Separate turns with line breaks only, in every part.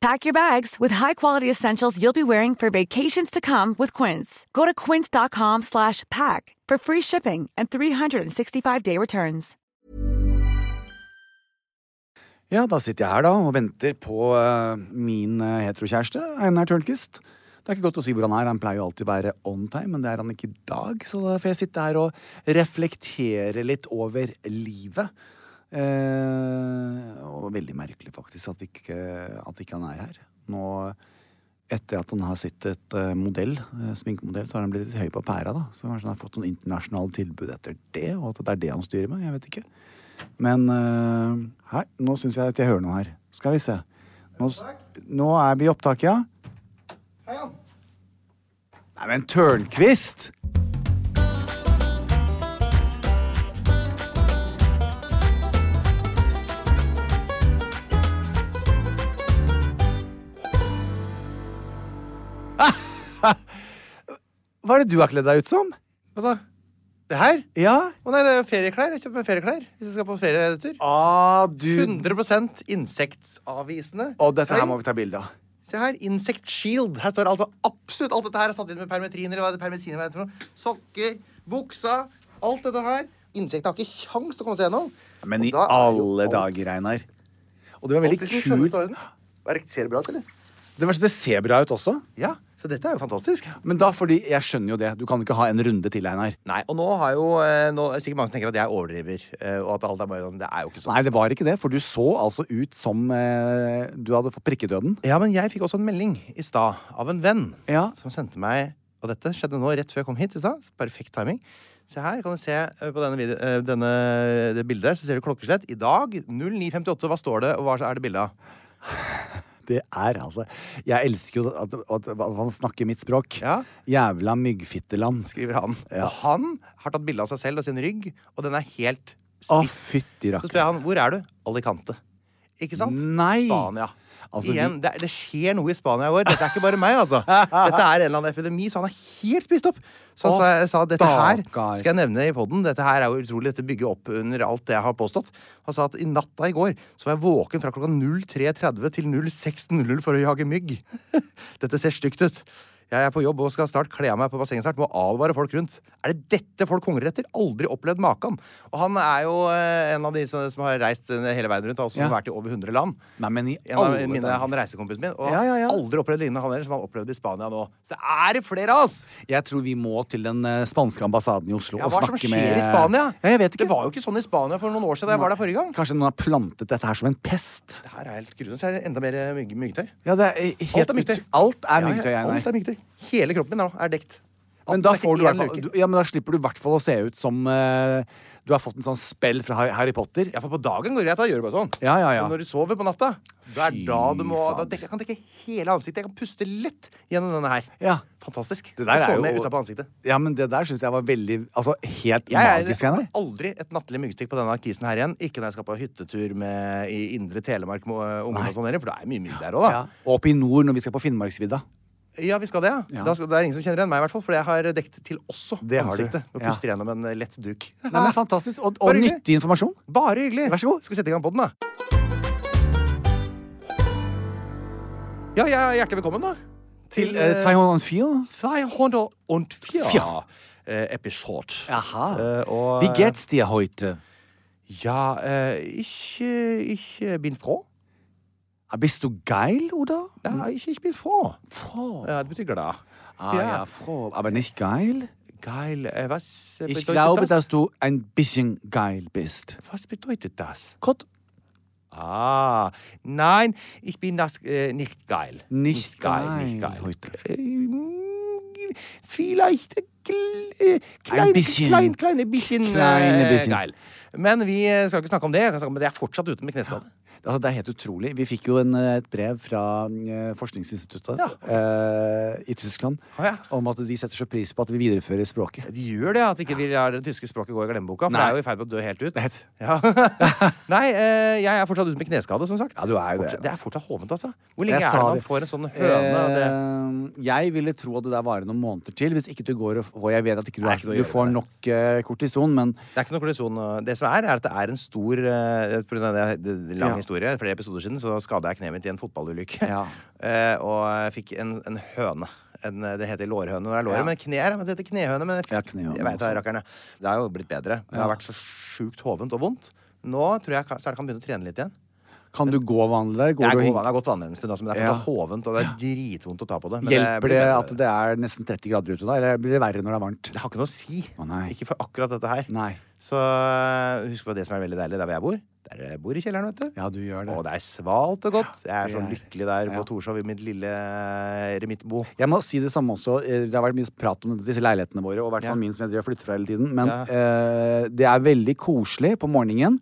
Pack your bags with high-quality essentials you'll be wearing for vacations to come with Quince. Go to quince.com slash pack for free shipping and 365-day returns.
Ja, da sitter jeg her da og venter på eh, min eh, heterokjæreste, Einar Tørnquist. Det er ikke godt å si hvor han er, han pleier jo alltid å være on time, men det er han ikke i dag, så da får jeg sitte her og reflektere litt over livet. Eh, og veldig merkelig faktisk at ikke, at ikke han er her. Nå, etter at han har sett et eh, modell, eh, sminkemodell, så har han blitt litt høy på pæra, da. Så kanskje han har fått noen internasjonale tilbud etter det, og at det er det han styrer med, jeg vet ikke. Men eh, her, nå syns jeg at jeg hører noe her. Skal vi se. Nå, s- nå er vi i opptak, ja. Nei, men Tørnquist! Hva er det du har kledd deg ut som?
Hva da? Det her?
Ja?
Å nei, det er jo ferieklær. Jeg kjøper meg ferieklær hvis jeg skal på ferietur.
Ah, du
100 insektavvisende.
Og dette her må vi ta bilde av.
Se her. Insect shield. Her står altså absolutt alt dette her er satt inn med permetrin, eller hva det permetrin er for noe. Sokker, buksa, alt dette her. Insektene har ikke kjangs til å komme seg gjennom.
Men
Og
i
da er jo
alle
alt-
dager, Einar. Og det var
alt
veldig
i sin skjønneste
kult.
orden. Er det- Ser det bra ut, eller?
Det, var, det ser bra ut også.
Ja. Så dette er jo fantastisk.
Men da, fordi jeg skjønner jo det. Du kan ikke ha en runde til, Einar.
Nei, og nå har jo eh, nå, er det Sikkert mange som tenker at jeg overdriver, eh, og at alt er bare sånn. Det er jo ikke sånn.
Nei, det var ikke det, for du så altså ut som eh, du hadde fått prikkedøden.
Ja, men jeg fikk også en melding i stad av en venn
Ja.
som sendte meg Og dette skjedde nå rett før jeg kom hit i stad. Perfekt timing. Se her, kan du se eh, på denne, video, eh, denne det bildet her, så ser du klokkeslett. I dag 09.58. Hva står det, og hva er det bilde av?
Det er altså Jeg elsker jo at, at, at han snakker mitt språk.
Ja.
Jævla myggfitteland.
Skriver han. Og han har tatt bilde av seg selv og sin rygg, og den er helt
Å,
spiss.
fytti
så spør
rakker.
jeg han hvor er du? Alicante. Ikke sant?
Nei.
Spania.
Altså,
Igjen,
vi-
det, er- det skjer noe i Spania i år. Dette er ikke bare meg, altså. Dette er en eller annen epidemi, så han er helt spist opp. Så han sa,
Å,
jeg sa dette her
stakkar.
skal jeg nevne i poden. Dette her er jo utrolig. Dette bygger opp under alt det jeg har påstått. Han sa at i natta i går så var jeg våken fra klokka 03.30 til 06.00 for å jage mygg. Dette ser stygt ut. Jeg er på jobb og skal snart kle av meg på bassenget snart. Må advare folk rundt. Er det dette folk hungrer etter? Aldri opplevd maken. Og han er jo eh, en av de som som har reist eh, hele veien rundt, og som
Ja.
har vært i over 100 land.
Nei, men i
En av
alle
mine,
dager.
han reisekompisen min. Og
Ja, ja, ja.
aldri opplevd lignende han heller, som han opplevde i Spania nå. Så er det flere av oss!
Jeg tror vi må til den eh, spanske ambassaden i Oslo
Ja,
og
hva er
snakke
det
med
som skjer i Spania?
Ja, jeg vet ikke.
Det var jo ikke sånn i Spania for noen år siden da jeg var der forrige gang.
Kanskje noen har plantet dette her som en pest?
Det her er helt grusomt. Så er det enda mer eh, mygg, myggtøy.
Ja, det er eh, helt
Alt er myggtøy.
ut- Alt
Ja,
er
ja,
myggtøy, Einar.
alt er myggtøy. Hele kroppen min er, nå- er dekt.
Men
At
da,
det er
får
ikke
du, i
én
hvert fall-
løker.
du, ja, men da slipper du i hvert fall å se ut som eh, du har fått en sånn spell fra Har- Harry Potter.
Ja, for på dagen går det greit. Da gjør du bare sånn.
Ja, ja, ja.
Men når du sover på natta, det er
Fy
da du må da
fader.
dekker, Jeg kan dekke hele ansiktet. Jeg kan puste lett gjennom denne her.
Ja.
Fantastisk.
Det der
jeg
er
sovner
jo-
utapå ansiktet.
Ja, men det der syns jeg var veldig Altså helt
Jeg
magisk.
er
Einar.
aldri et nattlig myggstikk på denne kisen her igjen. Ikke når jeg skal på hyttetur med, i indre Telemark med øh, ungene og sånn, heller, for det er mye mygg der òg, da.
Ja. Og oppe i nord, når vi skal på Finnmarksvidda.
Ja, vi skal det, ja.
Ja.
Da skal, det er ingen som kjenner igjen meg, i hvert fall. For jeg har dekket til også
Det har du.
ansiktet. Og
Ja.
puster gjennom en eh, lett duk.
Nei, men Fantastisk. Og,
Bare
og
hyggelig.
nyttig informasjon.
Bare hyggelig.
Vær så god.
Skal vi sette i gang podden, da? Ja, ja, hjertelig velkommen, da.
Til
eh,
eh, Taiwan on Feel.
204
Ja.
eh, episode.
Aha.
Eh, og,
Wie geht's dir heute?
Ja, eh, ich, eh, ich eh, bin froh.
Ah, Bist du geil, oder?
Ja, ich, ich bin froh.
Froh.
Ja, det betyr glad.
Mm. Ah, ja. froh. Aber nicht geil?
Geil. Eh, was eh,
Ich
bedeutet
glaube,
das?
dass du ein bisschen geil bist.
Was bedeutet das?
Gott.
Ah, nein, ich bin das äh, nicht geil.
Nicht geil
nicht geil.
heute.
Ähm, vielleicht äh, gl- äh, klein,
Ein bisschen.
klein, kleine bisschen,
Kleine
äh,
bisschen.
geil. Men vi eh, skal ikke snakke om det. Jeg kan snakke om det. Jeg er fortsatt ute med kneskade.
Altså, det er helt utrolig. Vi fikk jo en, eh, et brev fra eh, forskningsinstituttet eh, i Tyskland
Å, ja.
om at de setter så pris på at vi viderefører språket.
De gjør det, at ikke vi lar det tyske språket gå i glemmeboka. For
Nei.
det er jo i ferd med å dø helt ut. Ja. Nei, eh, jeg er fortsatt ute med kneskade, som sagt.
Ja, du er jo det.
Fortsatt, det er fortsatt hovent, altså. Hvor lenge
Jeg
er det
sa
man
det.
får en sånn høne? og det...
Eh, jeg ville tro at det der varer noen måneder til. Hvis ikke du går og får Jeg vet at ikke du,
Nei,
er,
ikke noe å
du
gjøre
får
med det.
nok eh, kortison, men
Det er ikke noe kollisjon. og Det som er, er at det er en stor eh, På grunn av det- det- det lang
Ja.
historie, flere episoder siden, så skada jeg kneet mitt i en fotballulykke.
Ja.
Eh, og jeg fikk en, en høne. En, eh, det heter lårhøne når det er låret,
Ja.
men knær men det heter knehøne. Men jeg,
Ja, knehøne
jeg vet, det,
også.
rakkerne. det har jo blitt bedre. Det har vært så sjukt hovent og vondt. Nå tror jeg kan- snart kan begynne å trene litt igjen.
kan du gå vanlig der?
Jeg
Går
er
du og
god,
hin-
jeg har gått vanlig en stund, altså, men det er
Ja.
fortsatt hovent, og det er dritvondt å ta på det. Men
Hjelper
blir
det
bedre.
at det er nesten 30 grader ute da, eller blir det verre når det er varmt?
Det har ikke noe å si.
Å, nei.
Ikke for akkurat dette her.
Nei.
Så øh, husk på det som er veldig deilig der hvor jeg bor. Der jeg bor i kjelleren, vet du.
Ja, du gjør det.
Og det er svalt og godt. Jeg er
det
så
er-
lykkelig der
ja.
på Torshov i mitt lille eh, eremittbo.
Jeg må si det samme også. eh, Det har vært mye prat om disse leilighetene våre, og i hvert fall min som jeg driver og flytter fra hele tiden. Men
Ja.
eh, det er veldig koselig på morgenen.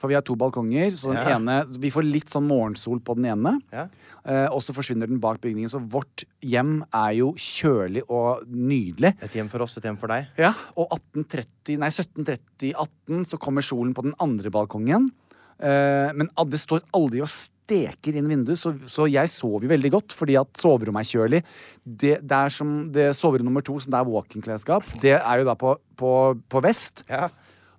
For vi har to balkonger, så den
Ja.
ene, vi får litt sånn morgensol på den ene.
Ja.
eh, og så forsvinner den bak bygningen. Så vårt hjem er jo kjølig og nydelig.
Et hjem for oss, et hjem for deg.
Ja, og 18.30, nei 17.30-18 så kommer solen på den andre balkongen. Eh, men al- det står aldri og steker inn vinduet, så, så jeg sover jo veldig godt. Fordi at soverommet er kjølig. Det, det er som det soverom nummer to, som det er walk-in-klesskap, det er jo da på, på, på vest.
Ja.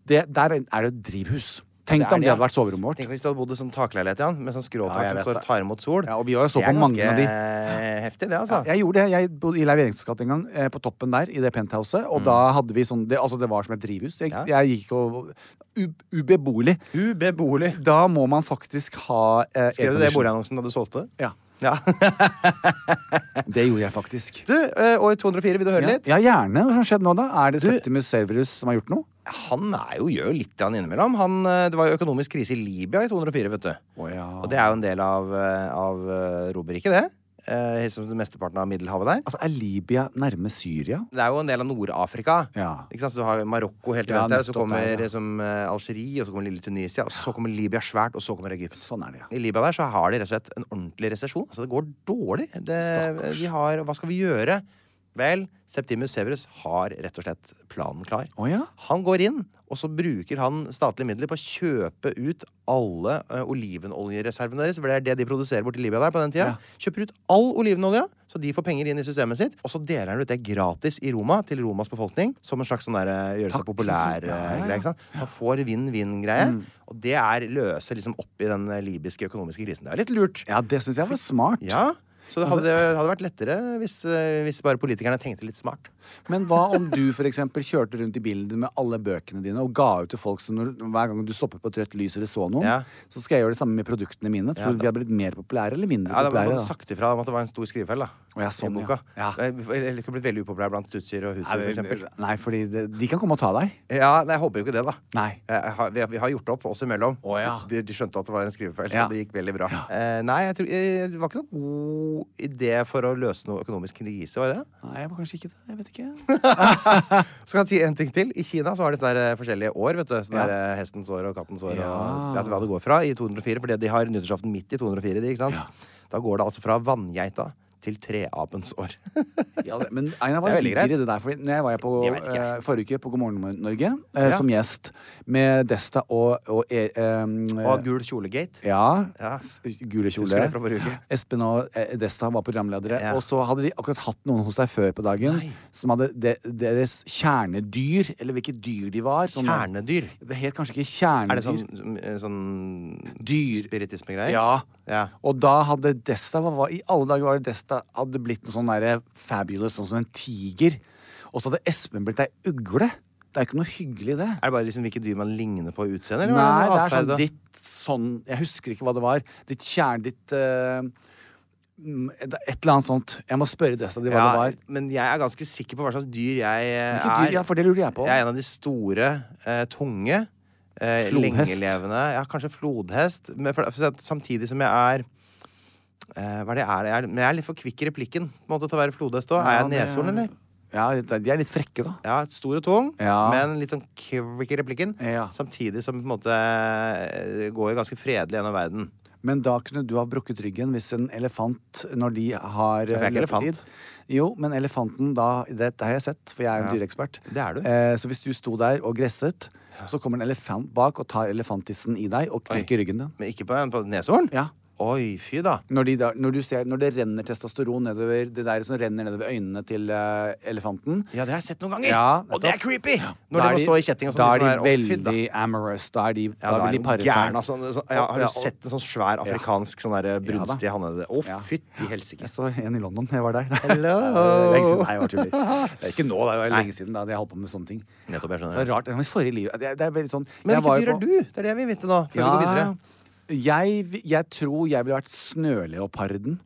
Det, der er det drivhus. Tenk
Det er
deg om
det,
det
ja.
hadde vært soverommet vårt.
Tenk hvis det hadde bodd i sånn takleilighet igjen, med sånn skråtak
Ja, jeg
som
vet
står og
det.
tar imot sol.
Ja, og vi har jo så
det er
på mange av de.
ganske heftig, det, altså.
Jeg gjorde det. Jeg bodde i Leiv Eriksens gate en gang, eh, på toppen der, i det penthouset. Og da hadde vi sånn det, Altså, det var som et drivhus. Jeg,
Mm. Ja.
jeg gikk og u- Ubeboelig.
Ubeboelig.
Da må man faktisk ha eh,
Skrev du det i
aircondition.
boligannonsen da du solgte det?
Ja,
Ja.
det gjorde jeg faktisk.
Du, øh, år 204, vil du høre
Ja,
litt?
ja, gjerne. Hva har skjedd nå, da? Er det Septimus Serverus som har gjort noe?
Han er jo, gjør jo litt grann innimellom. Han, øh, det var jo økonomisk krise i Libya i 204, vet du. Og det er jo en del av, eh, av eh, Romerriket, det. Eh, helt som mesteparten av Middelhavet der.
Altså, er Libya nærme Syria?
Det er jo en del av Nord-Afrika.
Ja.
Ikke sant? Så du har Marokko helt til
Ja,
venstre, og så
nettopp
kommer
der, ja.
liksom, eh, Algerie, og så kommer lille Tunisia, og så kommer Libya svært, og så kommer Egypt.
Sånn er det, ja.
I Libya der så har de rett og slett en ordentlig resesjon. Altså, det går dårlig. Det,
Stakkars.
de har, hva skal vi gjøre? Vel, Septimus Severus har rett og slett planen klar.
Å ja?
Han går inn, og så bruker han statlige midler på å kjøpe ut alle eh, olivenoljereservene deres. For det er det de produserer borti Libya der på den tida. Kjøper ut all olivenolja, så de får penger inn i systemet sitt. Og så deler han ut det gratis i Roma til Romas befolkning, som en slags sånn der, eh, gjøre
Takk,
seg populær-greie.
så- ja, ja, Mm. ja.
Han får vinn-vinn-greie. Og det er løse liksom opp i den eh, libyske økonomiske krisen. Det er litt lurt.
Ja, det syns jeg var smart.
Ja. Så det hadde, det hadde vært lettere hvis, eh, hvis bare politikerne tenkte litt smart.
Men hva om du for eksempel kjørte rundt i bilen din med alle bøkene dine og ga ut til folk som når, hver gang du stoppet på et rødt lys eller så noen,
Ja.
så skal jeg gjøre det samme med produktene mine? Tror du de hadde blitt mer populære eller mindre
Ja, det var
populære?
sagt ifra om at det var en stor skrivefeil, da.
Å, ja, sånn,
i boka.
ja. Ja.
Jeg, jeg, jeg kan bli veldig upopulær blant tutsier og
Nei,
husier, for
det,
eksempel.
nei fordi det, de kan komme og ta deg.
Ja, nei, jeg håper jo ikke det, da.
Nei.
Jeg har, vi, har- vi har gjort det opp oss imellom.
Å, ja.
de, de skjønte at det var en skrivefeil,
Ja.
og det gikk veldig bra. Eh, nei, jeg tror, eh, det var ikke noen god idé for å løse noe økonomisk krise, var det?
Nei, jeg var kanskje ikke det. Jeg vet ikke.
Så kan jeg si en ting til. I Kina så har de sånne der, eh, forskjellige år. vet du Sånne
Ja.
der, eh, Hestens år og kattens år. Og, vet du hva det går fra i 204? Fordi de har nyttårsaften midt i 204. De, ikke sant? Da går det altså fra vanngeita til treapens år.
Ja, det- men Einar
Det
var
er veldig
videre i
greit.
det der. Fordi når jeg var på
Det vet ikke jeg.
eh, forrige uke på God morgen Norge eh, som gjest med Desta og, og eh, eh,
og gul kjolegate.
Ja.
Ja.
s- Gule
Husker
kjole.
det fra forrige uke.
Espen og eh, Desta var programledere.
Ja.
Og så hadde de akkurat hatt noen hos seg før på dagen som hadde de, deres kjernedyr, eller hvilket dyr de var. sånn-
Kjernedyr.
Det het kanskje ikke
Er det
kjernedyr.
sånn, eh, sånn
Dyr.
spiritisme-greier?
Ja.
Ja.
Og da hadde Desta hva var, I alle dager var det Desta hadde blitt en sånn derre fabulous, sånn som en tiger. Og så hadde Espen blitt ei ugle. Det er ikke noe hyggelig, det.
Er det bare liksom hvilke dyr man ligner på i utseendet? eller
Nei, det
noe
er
atferd,
sånn
da?
ditt sånn Jeg husker ikke hva det var. Ditt kjerne, ditt eh, mm, Et eller annet sånt. Jeg må spørre Desta de hva det
ja,
var.
men jeg er ganske sikker på hva slags dyr jeg eh,
Hvilket dyr?
er.
Ja, for det lurer jeg på.
Jeg er en av de store, eh, tunge, eh,
Flodhest.
lengelevende Ja, kanskje flodhest. Men for, for, samtidig som jeg er eh, Hva er det jeg er? Jeg er, men jeg er litt for kvikk i replikken på en måte, til å være flodhest òg. er jeg
det-
neshorn, eller?
Ja, de er litt frekke, da.
Ja, stor og tung,
Ja.
men litt sånn kvikk i replikken.
Ja.
Samtidig som på en måte eh, går ganske fredelig gjennom verden.
Men da kunne du ha brukket ryggen hvis en elefant, når de har
er
eh,
ikke
løpetid
elefant.
Jo, men elefanten da Dette har jeg sett, for jeg er jo en dyreekspert.
Det er du.
Eh, så hvis du sto der og gresset, så kommer en elefant bak og tar elefanttissen i deg og knekker ryggen din.
Men ikke på, på neshorn?
Ja.
Oi, fy da.
Når, de da, når, du ser, når det renner testosteron nedover det der som renner nedover øynene til eh, elefanten
Ja, det har jeg sett noen ganger.
Ja,
og det er
nettopp.
creepy! Når
da
de
er
må stå i kjetting og sånn.
Da
de
er de
som «Å, fy da».
veldig amorous. Da, er de,
Ja,
da
da er
vil de
de
pare
gæren,
seg.
altså. Så, ja, har
Ja,
du
og-
sett en sånn svær afrikansk sånn der brunstig
Ja da.
hannede Å,
Ja.
fytti helsike.
Jeg så en i London. Jeg var der.
Hello.
lenge siden. Nei, jeg var tuller. Det er ikke nå, det er jo lenge siden da hadde jeg holdt på med sånne ting.
Nettopp, jeg
Så
skjønner.
det er rart. Det var i forrige liv. Det er, det er veldig sånn
Men
jeg var jo
hvilke dyr er
på-
du? Det er det jeg vil vite nå. Før vi går
Ja,
videre.
jeg, jeg tror jeg ville vært snøleoparden.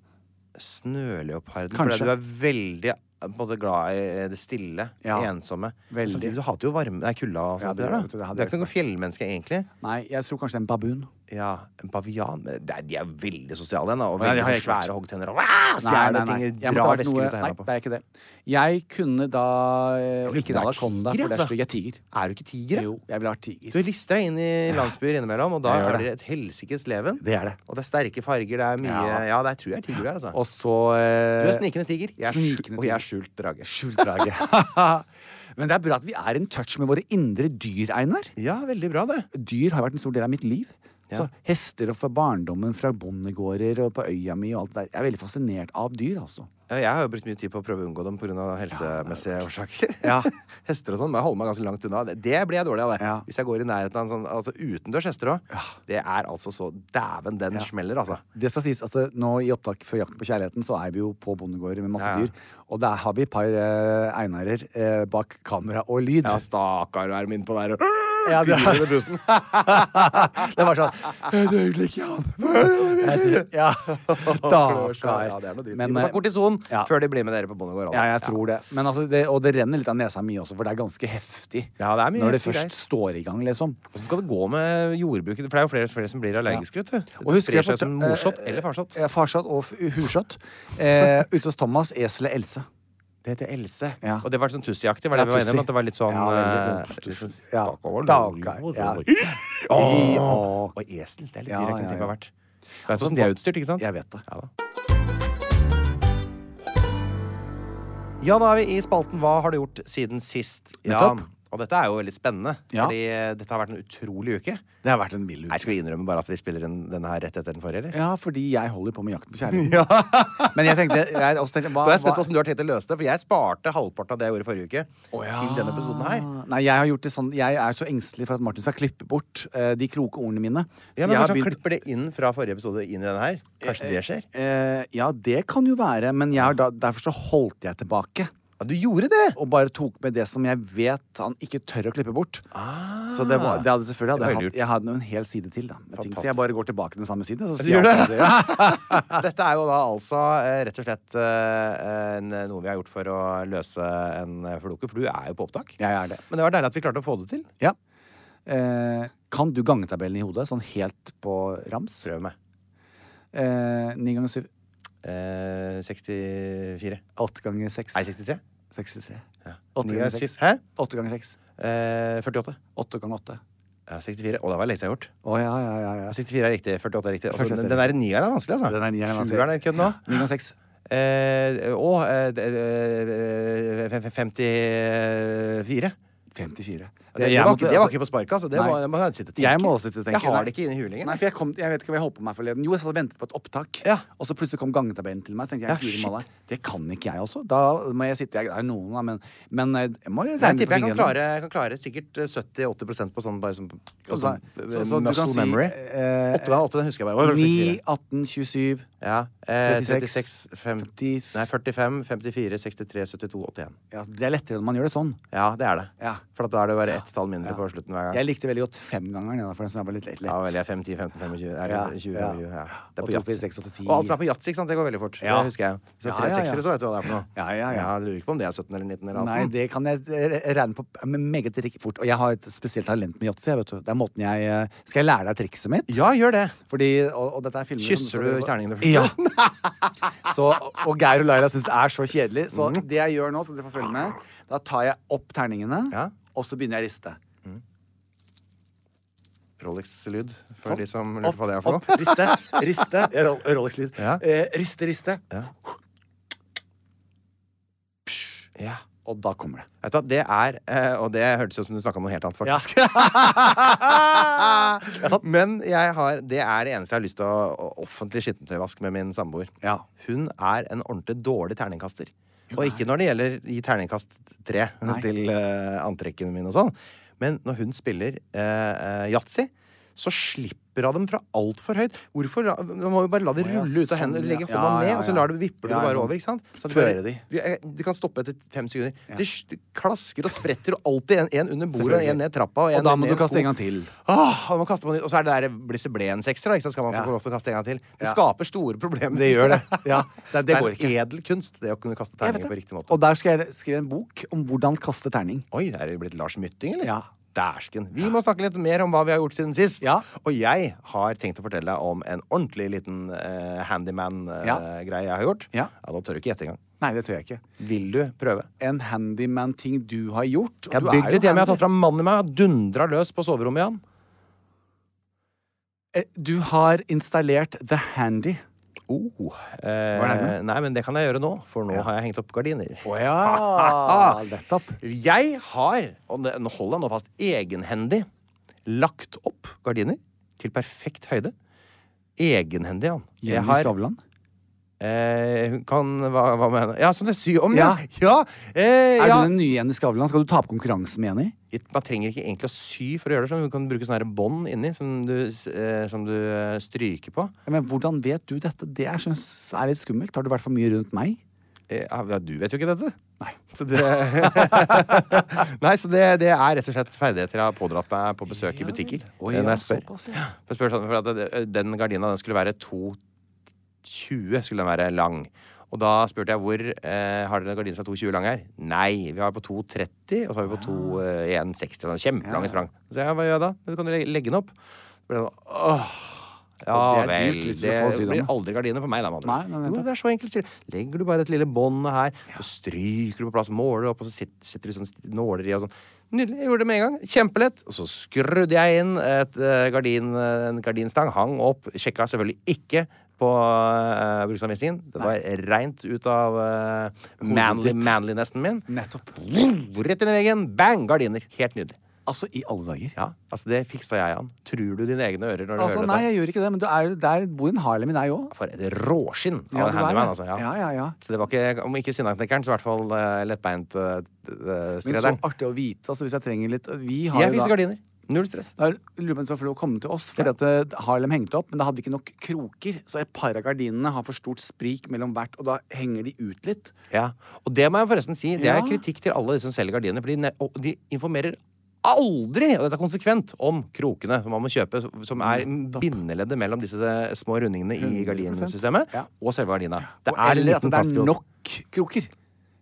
Snøleoparden.
Kanskje.
Fordi du er veldig eh, på en måte, glad i eh, det stille,
Ja.
ensomme.
Veldig.
Samtidig du hater jo varme Nei, kulda og
Ja,
sånt.
det gjør
der, da.
jeg, vet du, det hadde
du er ikke
jeg
noe fjellmenneske, egentlig.
Nei, jeg tror kanskje en baboon.
Ja, En bavian men det er- De er veldig sosiale, igjen, da. Og
Ja, det
veldig
har jeg ikke
svære hoggtenner. Og «Wow!»
Nei,
stjeler
nei, nei.
ting.
Jeg måtte ha
Drar
vært
vesker
noe-
ut av
Nei,
hendene på.
det er ikke det. Jeg kunne da eh, Ikke
du
en
er
anakonda,
tiger,
for det er
altså?
stygg. Jeg er tiger.
Er du ikke tiger? da?
Jo, jeg ville vært tiger.
Du lister deg inn i landsbyer innimellom, og da
Jeg gjør
er
det.
det et helsikes leven.
Det er det.
Og det er sterke farger, det er mye Ja,
Ja.
det er, tror jeg er tiger der, altså.
Og så
du
eh,
er snikende tiger. Jeg er skjult-
snikende
og jeg er
tiger.
skjult drage.
Skjult drage. Men det er bra at vi er in touch med våre indre dyr, Einar.
Ja, veldig bra, det.
Dyr har vært en stor del av mitt liv.
Ja.
Så hester og fra barndommen, fra bondegårder og på øya mi og alt det der. Jeg er veldig fascinert av dyr, altså.
Ja, Jeg har jo brukt mye tid på å prøve å unngå dem pga. helsemessige årsaker.
Ja.
hester og sånn må jeg holde meg ganske langt unna. Det, det blir jeg dårlig av, det.
Ja.
Hvis jeg går i nærheten av en sånn altså, utendørs hester òg. Det er altså så Dæven, den smeller, altså.
Det skal sies, altså nå I opptak før Jakten på kjærligheten så er vi jo på bondegårder med masse
Ja, ja.
dyr. Og der har vi et par eh, Einarer eh, bak kamera og lyd.
Ja, stakkar, er min på der og
Ja, det-
Hyler under bussen.
det var sånn Jeg døde ikke ham. Ja. Stakkar.
sånn, Ja, det er noe dritt.
Men,
De må ta
eh,
kortison
ja.
før de blir med dere på bondegård. altså.
Ja, jeg tror det. Men altså, det. Og det renner litt av nesa mi også, for det er ganske heftig.
Ja, det er mye
Når det
heftig
først
greier.
står i gang, liksom.
Hvordan skal det gå med jordbruket? For det er jo flere, flere som blir allergiske. vet du.
Og
Det
husker jeg
sprer seg
fortal-
som morsott
eh,
eller farsott.
Ja, farshot og f- hushot. Eh, ute hos Thomas, eselet Else.
Det heter Else.
Ja.
Og det var sånn tussiaktig. var det
Ja,
vi var enige om,
tussi.
at det var litt sånn
Ja, veldig
eh,
ordentlig
litt sånn
tussi. Ja.
stakover,
Stakkar,
lover,
ja.
lover. Åh, Og esel. Det er litt
Ja,
dyr jeg kunne
ja, ja. Sånn
tenke meg vært. Du vet åssen de er utstyrt, ikke sant?
Jeg vet det.
Ja, da. ja, da er vi i spalten Hva har du gjort siden sist?
Nettopp.
Og dette er jo veldig spennende,
Ja.
fordi eh, dette har vært en utrolig uke.
Det har vært en vill
Nei,
uke.
Skal vi innrømme bare at vi spiller inn denne her rett etter den forrige, eller?
Ja, fordi jeg holder på med Jakten på kjærligheten. Men jeg tenkte, jeg også tenkte hva,
Da er jeg spent
hva-
på hvordan du har tenkt å løse det, for jeg sparte halvparten av det jeg gjorde forrige uke,
Å, ja.
til denne episoden her.
Nei, jeg har gjort det sånn Jeg er så engstelig for at Martin skal klippe bort eh, de kloke ordene mine. Så
Ja, men
jeg har
Kanskje han
begynt-
klipper det inn fra forrige episode inn i denne her? Kanskje det skjer?
Eh, ja, det kan jo være, men jeg har da, derfor så holdt jeg tilbake.
Ja, du gjorde det!
Og bare tok med det som jeg vet han ikke tør å klippe bort. Så det, var, det hadde selvfølgelig
Ah. Det
hadde
var
jeg,
lurt.
hatt, jeg hadde jo en hel side til. da med ting, Så
Fantastisk.
jeg bare går tilbake til den samme siden. Så
Du
sier
gjør
jeg
det?
at
Dette er jo da altså eh, rett og slett eh, en, noe vi har gjort for å løse en eh, floke, for du er jo på opptak.
Jeg er det.
Men det var deilig at vi klarte å få det til.
Ja. Eh, kan du gangetabellen i hodet, sånn helt på rams?
Prøv meg.
Eh, Ni ganger syv.
Eh, 64.
Åtte ganger seks.
Nei, 63.
63.
Ni
Åtte
ganger
ganger seks.
syv. Hæ?
Åtte ganger seks.
Eh, 48.
Åtte ganger åtte.
Ja, 64. Å, det var lenge siden jeg har gjort.
Å ja, ja, ja.
Ja,
ja.
64 er riktig. 48 er riktig. Altså,
48 er
den den der nieren er vanskelig, altså.
Den er nieren er vanskelig.
Sjueren er kødd nå.
Ni ganger seks.
Eh, og eh, d- eh, fem- fem- 54.
54.
Det, det,
Jeg
var,
måtte-
ikke- det var
altså-
ikke på sparket, altså. Det
Nei.
var, det må jeg sitte og tenke.
Jeg må også sitte og tenke.
Jeg har
nei.
det ikke inni huet lenger.
Nei, for jeg, kom, jeg vet ikke hva jeg holdt på med forleden. Jo, jeg satt og ventet på et opptak,
Ja.
og så plutselig kom gangetabellen til meg. Så tenkte jeg,
Ja,
Guri
shit.
malla, det kan ikke jeg også. Da må jeg sitte jeg, Det er noen, da, men, men eh, jeg må regne
Jeg
på
tipper jeg kan
fingrene.
klare, jeg kan klare sikkert eh, 70-80 på sånn bare som på
Altså, Så- så-
sånn,
så du
muscle
kan si,
memory.
eh,
8 ganger 8, den husker jeg bare.
9, 18, 27,
ja, eh, 36,
36,
50, nei, 45, 54, 63, 72, 81.
ja, Det er lettere når man gjør det sånn.
Ja, det er det.
Ja.
For at da er det bare ett tall mindre på slutten hver gang.
Jeg likte veldig godt femgangeren. Ja, for den som var litt lett. lett.
Ja, vel, jeg er 5, 10, 15, 25 er det
Ja,
20,
ja.
20, ja. Det er
Og
på
topper i
yatzy.
6, 8, 10.
Og alt som er på yatzy, ikke sant, det går veldig fort.
Ja.
Det husker jeg jo. Så
Ja,
tre
ja, ja.
seksere, så vet du hva det er for noe.
Ja, ja, ja.
Jeg lurer ikke på om det er 17 eller 19 eller 18.
Nei, det kan jeg eh, regne på med meget rik- fort. Og jeg har et spesielt talent med yatzy. jeg, vet du. Det er måten jeg eh, Skal jeg lære deg trikset mitt?
Ja, gjør det.
Fordi, og, og dette er filmer som-
Kysser du terningene først?
Ja. Så, og Geir og Laila syns det er så kjedelig. Så
Mhm.
det jeg gjør nå, skal dere få følge med, da tar jeg opp terningene,
Ja.
og så begynner jeg å riste.
Rolex-lyd, for
Sånn.
de som lurer
Opp,
på hva det er for
opp,
noe.
riste, riste. Jeg har Ro- Rolex-lyd.
Ja.
Eh, riste, riste.
Ja.
Og da kommer det.
Vet du hva, det er eh, Og det hørtes ut som du snakka om noe helt annet, faktisk. Ah. Men jeg har, det er det eneste jeg har lyst til å å- offentlig skittentøyvask med min samboer.
Ja.
Hun er en ordentlig dårlig terningkaster. Og ikke når det gjelder i terningkast tre til eh, antrekkene mine og sånn. Men når hun spiller eh, eh, yatzy, så slipper hun dem fra altfor høyt. Hvorfor? la- Man må jo bare la
Å,
det
ja,
rulle ut av
sånn,
hendene,
ja.
legge hånda
Ja,
ned,
ja,
og så
ja.
lar du, vipper du
Ja,
det bare
sånn.
over. ikke sant? Så at
Fører de.
du, eh, de kan stoppe etter fem sekunder. De sj- de klasker og spretter, og alltid en, en under bordet og en ned trappa. Og, en
Og da må
ned
du
i
kaste
skoen.
en gang til.
Åh, og, man kaster på nytt. og så er det der blisse-ble-en-sekser. da, ikke sant? Skal man få
Ja.
lov til å kaste en gang til? Det
Ja.
skaper store problemer.
Det gjør det. Ja, det- det
er
går ikke.
en edel kunst, det å kunne kaste
Jeg vet
terninger på
det.
riktig måte.
Og der skal jeg skrive en bok om hvordan kaste terning.
Oi, er det blitt Lars Mytting, eller?
Ja.
Dæsken. Vi må snakke litt mer om hva vi har gjort siden sist.
Ja.
Og jeg har tenkt å fortelle deg om en ordentlig liten eh, handyman-greie
Ja.
jeg har gjort.
Ja.
Nå tør du ikke gjette engang.
Nei, det tør jeg ikke.
Vil du prøve?
En handyman-ting du har gjort. og
Jeg
du
har
er
bygd
jo
litt hjemme. Jeg har
handy.
tatt fram mannen i meg og dundra løs på soverommet igjen.
Eh, Du har installert The Handy.
Oh, eh,
Var det nærme?
nei, men det kan jeg gjøre nå, for nå har jeg hengt opp gardiner.
Å ja! Nettopp.
Jeg har, og det- nå holder jeg nå fast, egenhendig lagt opp gardiner til perfekt høyde. Egenhendig, ja. Jeg
Jenny
har
Skavlan.
eh, hun kan, hva, hva mener jeg? Ja, sånn det sy om, ja!
Ja.
ja. Eh,
Er
ja.
du den nye Jenny Skavlan? Skal du tape konkurransen med Jenny?
Man trenger ikke egentlig å sy for å gjøre det sånn. Hun kan bruke sånne her bånd inni som du, s- eh, som du eh, stryker på.
Ja, Men hvordan vet du dette? Det er, synes, er litt skummelt. Har du vært for mye rundt meg?
Eh, ja, du vet jo ikke dette.
Nei.
Så det, Nei, så det, det er rett og slett ferdigheter jeg har pådratt meg på besøk i butikker.
Oi,
Eh,
ja,
når jeg spør.
såpass, ja.
ja. for jeg spør sånn, for at det- den gardina den skulle være 2,20 skulle den være lang. Og da spurte jeg hvor eh, har dere en gardin som er 2,20 lang her. Nei, vi har på 2,30, og så har vi på
Ah.
eh, 2,160. Det er Kjempelange sprang. Så jeg, hva gjør jeg da? Du kan jo legge den opp. Så ble det sånn, åh, ja
Og det er
vel.
dyrt hvis du
Det
får si det
blir
om.
aldri gardiner på meg, da. med andre
Nei,
ord.
nei, nettopp.
Jo, det er så enkelt, sier du. Legger du bare et lille bånd her, så stryker du på plass, måler opp, og så sit- setter du sånn st- nåler i og sånn. Nydelig. Jeg gjorde det med en gang. Kjempelett. Og så skrudde jeg inn et eh, gardin, eh, en gardinstang, hang opp. Sjekka selvfølgelig ikke på eh, bruksanvisningen. Det var reint ut av eh, manly,
ditt.
manlinessen min.
Nettopp.
Rett inn i veggen. Bang! Gardiner. Helt nydelig.
Altså, i alle dager.
Ja, altså det fiksa jeg, Jan. Tror du dine egne ører når du
Altså,
hører
nei,
dette?
jeg gjorde ikke det, men du er, jo- der bor en Harlem i deg òg.
For et råskinn av
Ja, du
en
er
handyman,
det.
altså. Ja.
Ja, ja, ja.
Så det var ikke, om ikke sinnaknekkeren, så i hvert fall uh, lettbeint eh, d- d-
Men så
skredderen.
artig å vite. Altså, hvis jeg trenger litt Vi har jo
Jeg
da
fikser gardiner. Null stress.
Da lurer jeg på om det var å komme til oss, fordi at eh, Harlem hengte opp, men da hadde vi ikke nok kroker. Så et par av gardinene har for stort sprik mellom hvert, og da henger de ut litt.
Ja. Og det må jeg forresten si, det er
Ja.
kritikk til alle de som selger gardiner, for de, ne- og de informerer aldri, og dette er konsekvent, om krokene som man må kjøpe, som er
Mm,
bindeleddet mellom disse eh, små rundingene i
100%
gardinsystemet
Ja.
og selve gardina. Det
Og
er en
eller at
liten
det
plastkrok.
er nok kroker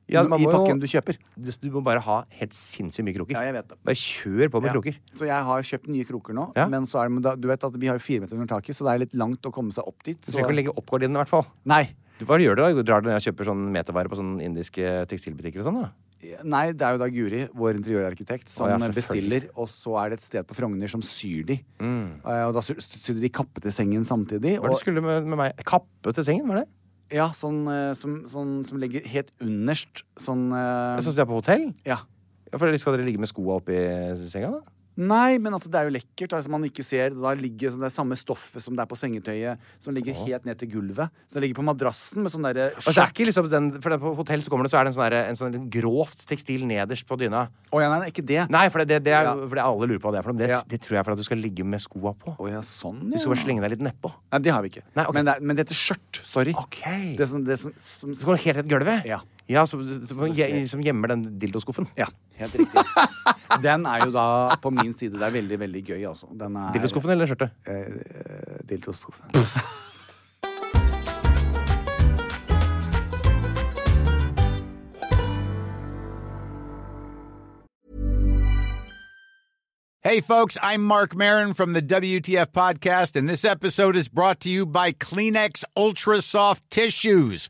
Ja, man
i
må jo-
pakken du kjøper.
Du du må bare ha helt sinnssykt mye kroker.
Ja, jeg vet det.
Bare kjør på med
Ja.
kroker.
Så jeg har kjøpt nye kroker nå.
Ja.
Men så er det, men da, du vet at vi har jo fire meter under taket, så det er litt langt å komme seg opp dit.
Du
Så,
trenger ikke å legge opp gardinene, i hvert fall.
nei,
Du, hva gjør du da? Du drar ned og kjøper sånn metervare på sånne indiske tekstilbutikker og sånn, da?
nei, det er jo da Guri, vår interiørarkitekt, som
Å, ja, selvfølgelig.
bestiller. Og så er det et sted på Frogner som syr de. Eh, Og da sy- sydde de kappe til sengen samtidig.
Hva er det
Og,
du skulle med, med meg? Kappe til sengen, var det?
ja, sånn, eh, som, sånn som ligger helt underst. Sånn eh,
Jeg synes du er på hotell.
Ja.
Ja, for Skal dere ligge med skoa oppi senga, da?
Nei, men altså, det er jo lekkert. Altså, man ikke ser, da ligger sånn, Det er samme stoffet som det er på sengetøyet, som ligger helt ned til gulvet. Så det ligger på madrassen med sånn derre
Altså, det er ikke liksom den, for det- På hotell så kommer det, så er det en sånn, derre- en sånn grovt tekstil nederst på dyna.
Å ja, nei, nei, ikke det.
Nei, for det, det, det er,
Ja.
for det alle lurer på hva det er for noe. men Det,
Ja.
det tror jeg er for at du skal ligge med skoa på.
Å ja, sånn, ja.
Du skal bare slenge deg litt nedpå.
Nei, det har vi ikke.
Nei, ok.
men, det er, men det heter skjørt. Sorry.
Ok.
Det som, det som, som
Så går det helt rett i gulvet.
Ja.
som, som, som gjemmer den dildoskuffen.
Ja, helt riktig. Den er jo da på min side. Det er veldig, veldig gøy, altså. Den er
Dildoskuffen eller skjørtet?
Eh, Dildoskuffen.
Hey, folks, I'm Mark Marin from the WTF Podcast, and this episode is brought to you by Kleenex Ultra Soft Tissues,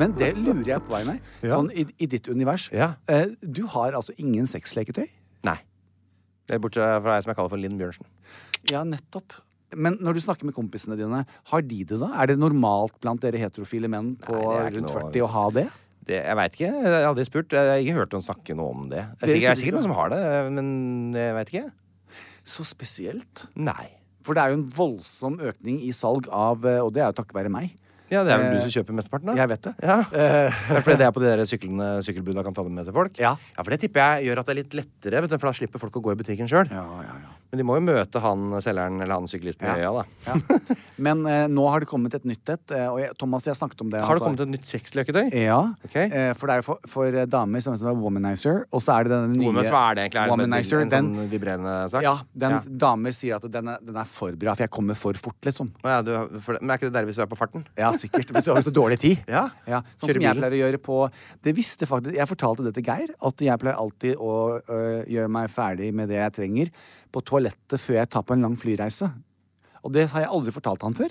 Men det lurer jeg på, Einar.
Ja.
Sånn i, i ditt univers.
Ja.
Eh, du har altså ingen sexleketøy?
Nei. Det er bortsett fra ei som jeg kaller for Linn Bjørnsen.
Ja, nettopp. Men når du snakker med kompisene dine, har de det da? Er det normalt blant dere heterofile menn på
Nei, det er ikke
rundt
noe-
40 å ha det?
Det, jeg veit ikke. Jeg har aldri spurt. Jeg har ikke hørt noen snakke noe om det. Det er sikkert, det er sikkert noen som har det, men jeg veit ikke.
Så spesielt.
Nei.
For det er jo en voldsom økning i salg av eh, Og det er jo takket være meg.
Ja, det er vel du som kjøper mesteparten, da?
Jeg vet det.
Ja. Det er fordi det er på de der syklene, sykkelbudene kan ta dem med til folk?
Ja.
For det tipper jeg gjør at det er litt lettere, vet du, for da slipper folk å gå i butikken sjøl. Men de må jo møte han selgeren eller han syklisten i øya, da.
Ja. Men eh, nå har det kommet et nytt et. eh, og jeg, Thomas, jeg snakket om det. altså.
Har det kommet et nytt sexløketøy?
Ja.
Ok.
Eh, for det er jo for, for eh, damer som er womanizer, og så er det den nye
Hvor- men Hva er det egentlig? Er det en-
Womanizer,
en
den,
sånn vibrerende sak?
ja, den
Ja.
damer sier at den er, den er for bra, for jeg kommer for fort, liksom.
Å ja, du, for, men er ikke det der hvis du er på farten?
Ja, sikkert. Hvis du har så dårlig tid.
Ja.
Sånn
Kjøre
som jeg
bilen.
pleier å gjøre på Det visste faktisk Jeg fortalte det til Geir, at jeg pleier alltid å øh, gjøre meg ferdig med det jeg trenger, på toalettet før jeg tar på en lang flyreise. Og det har jeg aldri fortalt han før.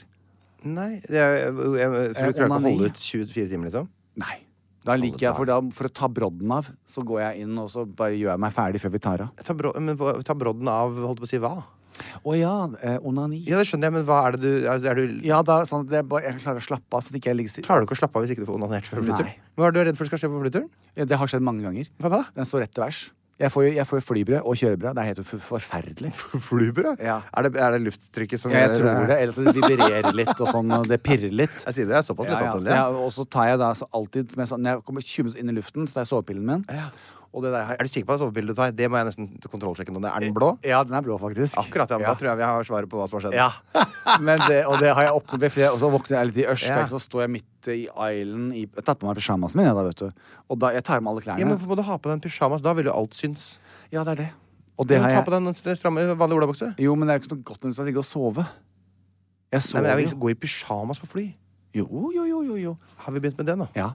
Nei. Det er, jeg, jeg, for
Eh,
du klarer ikke å
onani.
holde ut 24 timer, liksom?
Nei. Da liker jeg, for, da, for å ta brodden av, så går jeg inn og så bare gjør jeg meg ferdig før vi tar av.
Ta, bro, men, hva- ta brodden av, holdt på å si, hva?
Å ja, eh, onani.
Ja, det skjønner jeg, men hva er det du, altså, er du
Ja, da, sånn at jeg, bare, jeg klarer å slappe av. Så at ikke jeg ligger stille.
Klarer du ikke å slappe av hvis ikke du får onanert før flyturen?
Nei.
Hva er det du er redd for skal skje på flyturen?
Ja, det har skjedd mange ganger.
Hva da?
Den står rett til værs. Jeg får, jeg får flybrød og kjørebrød. Det er helt for- forferdelig.
Flybrød?
Ja.
Er, det, er det lufttrykket som
Ja, jeg tror det. Eller at det vibrerer litt, og sånn, og det pirrer litt.
Jeg sier det, jeg er såpass
Ja, ja,
lett
så
ja,
jeg- Og så tar jeg da så alltid som jeg, sa, Når jeg kommer 20 minutter inn i luften, så tar jeg sovepillen min. Og det der,
Er du sikker på at sovebildet du tar? Det må jeg nesten kontrollsjekke nå.
Eh,
Er den blå?
ja, den er blå, faktisk.
Akkurat, ja. men Da tror jeg vi har svaret på hva som har skjedd.
Ja. Men det, og det har jeg oppnådd ved flere Og så våkner jeg litt i ørska,
Ja.
ikke sant, så står jeg midt i island i, Jeg tar på meg pysjamasen min, jeg, da, vet du. Og da, jeg tar med alle
Ja,
klærne.
men Hvorfor må du ha på den pyjamas? Da vil jo alt synes.
Ja, det er det. Og
Du
det
må
har
ta på
jeg
den stramme, vanlige olabukse.
Jo, men det er jo ikke noe godt når du skal ligge og sove. Jeg
Nei, men
sover
jeg vil
jo.
ikke gå i pyjamas på fly.
Jo, jo, jo, jo, jo.
Har vi begynt med det nå?
Ja.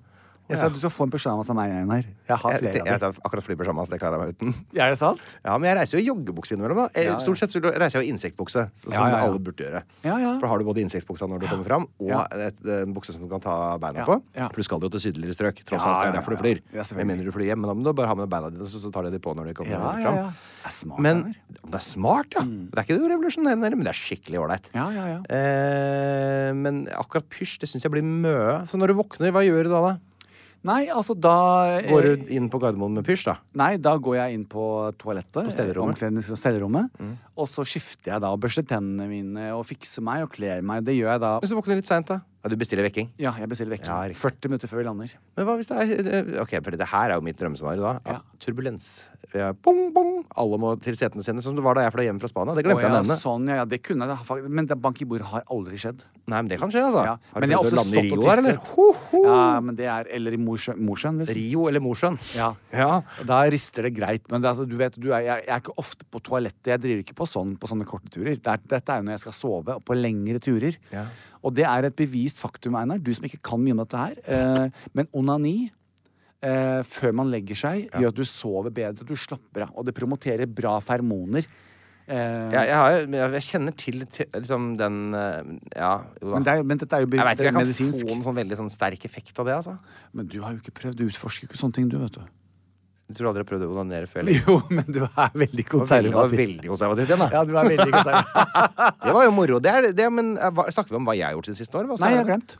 Jeg sa
Ja.
du skal få en pysjamas av meg, Einar. Jeg har
Jeg,
flere
jeg
av dem.
tar akkurat flypyjamas. Det klarer jeg meg uten.
Er det sant?
Ja, men jeg reiser jo i joggebukse innimellom. da. Eh, Stort sett så reiser jeg jo i insektbukse, så- som
Ja, ja, ja.
alle burde gjøre.
Ja, ja.
For da har du både insektbuksa når du kommer fram, og
Ja.
et, en bukse som du kan ta beina
Ja,
på.
ja.
For du skal jo til sydligere strøk, tross
Ja,
alt. Det er
ja,
derfor du
ja.
flyr.
Ja,
Med
selvfølgelig.
mindre du flyr hjem, men da må du bare ha med beina dine, så, så tar de de på når de kommer
Ja,
fram.
ja, ja. Det er smart,
men
Einar. Mm.
det er smart, ja. Det er ikke det revolusjonerende, men det er skikkelig ålreit.
Ja, ja, ja.
Eh, men akkurat pysj, det syns jeg blir møe. Så når du våkner, hva gjør du da? da?
Nei, altså da eh,
Går du inn på Gardermoen med pysj, da?
Nei, da går jeg inn på toalettet. eh,
På stellerommet. Mm.
omklednings- og stellerommet. Og så skifter jeg da og børster tennene mine og fikser meg og kler meg. Det gjør jeg da
Hvis du våkner litt seint, da? Ja, du bestiller vekking.
Ja, jeg bestiller vekking.
Ja, riktig.
40 minutter før vi lander.
Men hva hvis det er eh, Ok, for det her er jo mitt drømmescenario, da. Ja.
Ja.
Turbulens. Ja, Bong, bong! Alle må til setene sine, som det var da jeg fløy hjem fra Spania. Det
Å,
glemte jeg
ja,
å nevne.
sånn, ja, ja, det kunne jeg da fakt- Men det bank i bordet har aldri skjedd.
Nei, men det kan skje, altså.
Ja,
Har
men
du
jeg har
prøvd
ofte
å lande i
stått og
Rio, der, eller?
tisset.
Ho, ho.
Ja, men det er Eller i Mosjøen, Mosjøen liksom.
Rio eller Mosjøen?
Ja.
Ja.
Da rister det greit. Men det, er altså, du vet, du er, jeg, jeg er ikke ofte på toalettet. Jeg driver ikke på sånn på sånne korte turer. Det er, dette er jo når jeg skal sove, og på lengre turer.
Ja.
Og det er et bevist faktum, Einar, du som ikke kan mye om dette her. Eh, men onani eh, før man legger seg, gjør at du sover bedre, du slapper av. Og det promoterer bra fermoner. Eh,
Jeg, jeg, har, jo- men jeg, jeg kjenner til, til liksom den eh, Ja, jo da.
men, det er, jo- men dette er jo be-
jeg veit ikke, jeg kan
medisinsk.
få en sånn veldig sånn sterk effekt av det, altså.
Men du har jo ikke prøvd. Du utforsker jo ikke sånne ting, du, vet du.
Du tror aldri jeg prøvde å onanere før? eller?
Jo, men du er veldig
Det var veldig- det var veldig konservativt igjen, da.
Ja, du er veldig konservativ.
Det var jo moro. Det er, det, men eh, hva, snakker vi om hva jeg har gjort siden siste år? Hva
Nei, jeg
er
har
det?
glemt.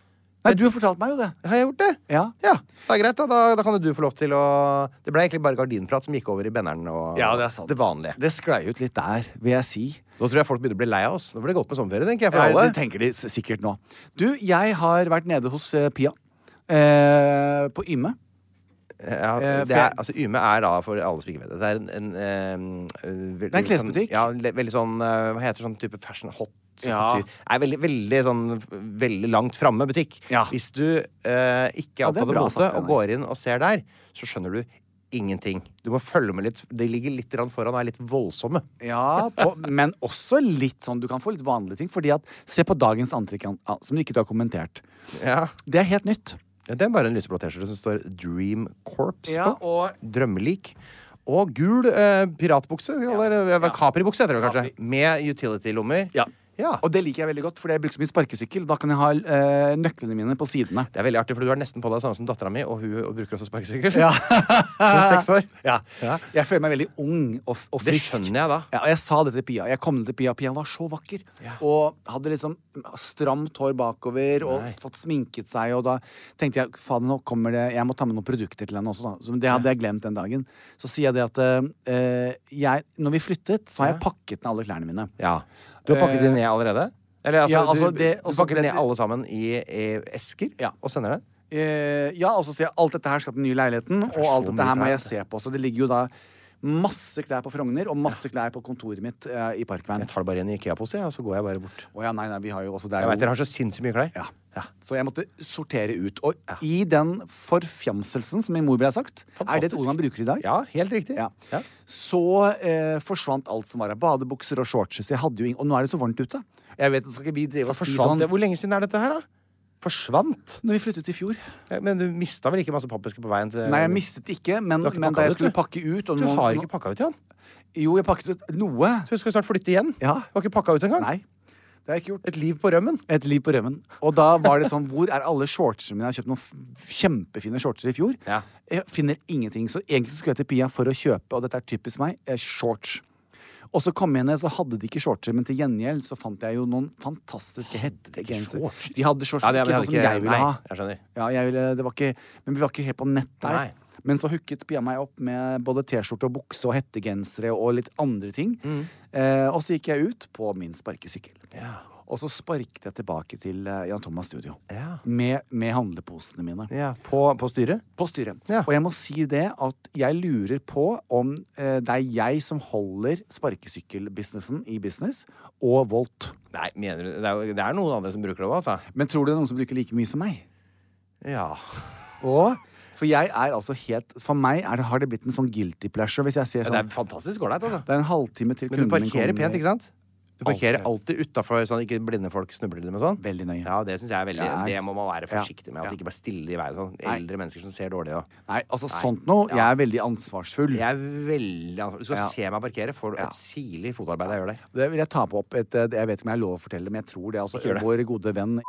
Nei, du fortalte meg jo det.
Har jeg gjort det?
Ja.
Det er greit, da. da. Da kan jo du få lov til å Det ble egentlig bare gardinprat som gikk over i benneren og det vanlige.
Det sklei ut litt der, vil jeg si.
Nå tror jeg folk begynner å bli lei av oss. Nå blir det godt med sommerferie, tenker jeg. For
Ja,
alle.
det tenker de s- sikkert nå. Du, jeg har vært nede hos eh, Pia. Eh, på Yme.
Ja,
Eh,
det
for
er,
jeg-
altså, Yme er da, for alle som ikke vet det, det er en, en, eh, eh, veldig
Det er en klesbutikk.
Sånn, ja, le- veldig sånn eh, Hva heter sånn type fashion hot?
Ja.
couture. Er veldig, veldig, sånn, veldig langt framme butikk.
Ja.
Hvis du eh, ikke
Ja,
er
det er
opptatt av
bra
mote
sagt,
og
Henrik.
går inn og ser der, så skjønner du ingenting. Du må følge med litt. De ligger litt grann foran og er litt voldsomme.
Ja, på, men også litt sånn Du kan få litt vanlige ting. Fordi at, Se på dagens antrekk, an- ah, som du ikke du har kommentert.
Ja.
Det er helt nytt.
Ja, Det er bare en lyseblå T-skjorte som står Dream Corps
Ja,
på.
og-
Drømmelik. Og gul eh, piratbukse. Eller ja. Capri-bukse, heter det kanskje. Med utility-lommer.
Ja.
Ja.
Og det liker jeg veldig godt, for jeg bruker så mye sparkesykkel. Da kan jeg ha eh, nøklene mine på sidene.
Det er veldig artig, for du er nesten på deg samme som dattera mi, og hun og bruker også sparkesykkel.
Ja.
Hun er seks år.
Ja. Jeg føler meg veldig ung og, f- og
Det
frisk.
skjønner jeg da.
Ja, og jeg sa det til Pia. Jeg kom ned til Pia, Pia var så vakker. Og hadde liksom stramt hår bakover og fått sminket seg. Og da tenkte jeg fader, nå kommer det Jeg må ta med noen produkter til henne også, da. Så det hadde jeg glemt den dagen. Så sier jeg det at eh, jeg, Når vi flyttet, så har jeg pakket ned alle klærne mine.
Ja. Du har pakket de ned allerede? Eller, altså,
ja, altså,
du,
det-
du
også-
pakker ned alle sammen i, i esker
Ja.
og sender det?
Eh, ja, og så sier jeg alt dette her skal til den nye leiligheten, og alt
så
dette her
mye
må
klær.
jeg se på. Så det ligger jo da masse klær på Frogner, og masse klær på kontoret mitt eh, i Parkveien.
Jeg tar det bare i en Ikea-pose, ja, og så går jeg bare bort.
Å ja, nei, nei, vi har jo også det er
Jeg vet,
jo-
Dere har så sinnssykt mye klær.
Ja. Så jeg måtte sortere ut. Og i den forfjamselsen, som min mor ville ha sagt Er det et
Fantastisk.
ord man bruker i dag?
Ja, helt riktig.
Ja.
Ja.
Så eh, forsvant alt som var av badebukser og shorts. Så jeg hadde jo ing og nå er det så varmt ute. Jeg vet, skal ikke vi drive og si
Forsvant
sånn
det? Hvor lenge siden er dette her, da? Forsvant?
Når vi flyttet i fjor.
Ja, Eh, Men du mista vel ikke masse pappesker på veien til
Nei, jeg mistet det ikke, men,
Du har ikke
men
pakka
da
det
jeg
ut,
skulle
du.
pakke ut og
Du
nå-
har
nå-
ikke pakka ut, Jan.
Jo, jeg pakket ut noe.
Du skal snart flytte igjen.
Ja.
Du har ikke pakka ut engang.
Nei. Det har jeg ikke gjort.
Et liv på rømmen.
Et liv på rømmen. Og da var det sånn Hvor er alle shortsene mine? Jeg har kjøpt noen f- kjempefine shortser i fjor.
Ja.
Jeg finner ingenting. Så egentlig skulle jeg til Pia for å kjøpe, og dette er typisk meg, eh, shorts. Og så kom jeg ned, så hadde de ikke shortser, men til gjengjeld så fant jeg jo noen fantastiske hettegensere.
shorts?
De hadde shorts,
Ja, det
ikke
hadde
sånn som
ikke-
jeg ville
nei,
ha.
jeg skjønner.
Ja, jeg ville, det var ikke, men vi var ikke helt på nett der.
Nei.
Men så hooket Pia meg opp med både T-skjorte og bukse og hettegensere og litt andre ting.
Mm.
Eh, og så gikk jeg ut på min sparkesykkel. Og så sparket jeg tilbake til eh, Jan Thomas Studio
Ja.
med, med handleposene mine.
Ja, på, på styret?
På styret.
Ja.
Og jeg må si det at jeg lurer på om eh, det er jeg som holder sparkesykkelbusinessen i business, og Volt.
Nei, mener du Det er, jo- det er noen andre som bruker det òg, altså.
Men tror du det er noen som bruker like mye som meg?
Ja.
Og, for jeg er altså helt For meg er det, har det blitt en sånn guilty pleasure hvis jeg ser
Ja,
sånn
Det er fantastisk ålreit, altså.
Det er en halvtime til
Men du
kunden min
parkerer
kommer.
pent, ikke sant? Du parkerer
Alltid.
alltid utafor, sånn at ikke blinde folk snubler i det med sånn.
Veldig nøye.
Ja, det synes jeg er veldig
Ja,
Det må man være
ja,
forsiktig med. At
ja.
det ikke bare stille i veien sånn.
Nei.
Eldre mennesker som ser dårlig og
Nei, altså sånt noe. Jeg er veldig ansvarsfull.
Jeg er veldig ansvarlig. Du skal
Mm. Ja.
se meg parkere. Får du et sirlig fotarbeid jeg gjør der.
Det vil jeg ta på opp et eh, Jeg vet ikke om jeg har lov å fortelle det, men jeg tror det. Altså,
Ikke gjør det.
Vår gode venn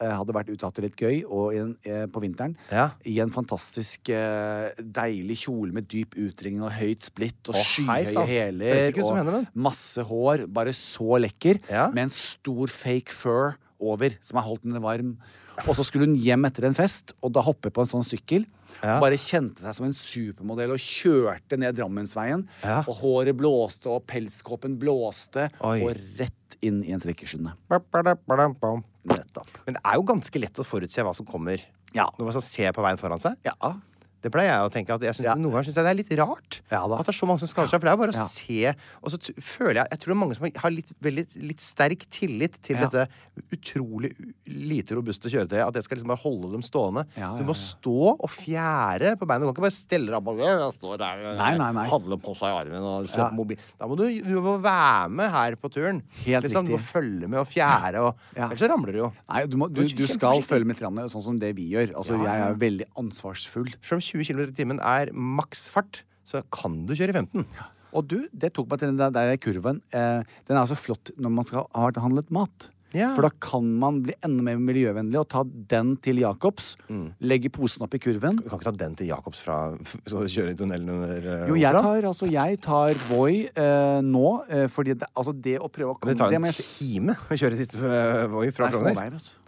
eh, hadde vært ute og hatt det litt gøy og i en, eh, på vinteren.
Ja.
I en fantastisk eh, deilig kjole med dyp utringning og høyt splitt og
Å, hei
skyhøye
sann. Høres
hæler
ikke ut som
og
henne, men.
masse hår. Bare så lekker.
Ja.
Med en stor fake fur over som har holdt henne varm. Og så skulle hun hjem etter en fest, og da hoppe på en sånn sykkel.
Ja.
Bare kjente seg som en supermodell og kjørte ned Drammensveien.
Ja.
Og håret blåste, og pelskåpen blåste,
Oi.
og rett inn i en trekkeskinne. Nettopp.
Men det er jo ganske lett å forutse hva som kommer.
Ja.
Når man skal se på veien foran seg.
Ja.
Det pleier jeg å tenke at jeg synes,
Ja.
Noen ganger syns jeg det er litt rart
Ja da.
at det er så mange som skader seg. For det er jo bare å
Ja.
se. Og så t føler jeg Jeg tror det er mange som har litt, veldig, litt sterk tillit til
Ja.
dette utrolig lite robuste kjøretøyet. At jeg skal liksom bare holde dem stående.
Ja, ja,
Du må stå og fjære på beina. Du kan ikke bare stelle deg opp og jeg står der, jeg
Nei, nei, nei.
handler på seg i armen og ser
Ja.
på mobil. Da må du, du må være med her på turen.
Helt
liksom, Du må
riktig.
følge med og fjære. Og,
Ja.
Ellers så ramler du jo.
Nei, du, må, du, du skal følge med litt, sånn som det vi gjør. Altså,
Ja,
Jeg
ja.
er veldig ansvarsfull.
Selv om 20 km i timen er maksfart, så kan du kjøre i 15.
Og du, det tok meg til den der, der kurven. Eh, den er altså flott når man skal ha handlet mat.
Ja.
For da kan man bli enda mer miljøvennlig og ta den til Jacobs.
Mm.
Legge posen opp i kurven.
Du kan ikke ta den til Jacobs fra Skal du kjøre i tunnelen under eh,
Jo, jeg
operaen?
tar, altså, jeg tar Voi eh, nå, eh, fordi det, altså, det å prøve å komme
Det tar
må
en
jeg si-
time å kjøre dit eh, Voi
Det
fra
er
Frogner.
småveier, altså. vet du.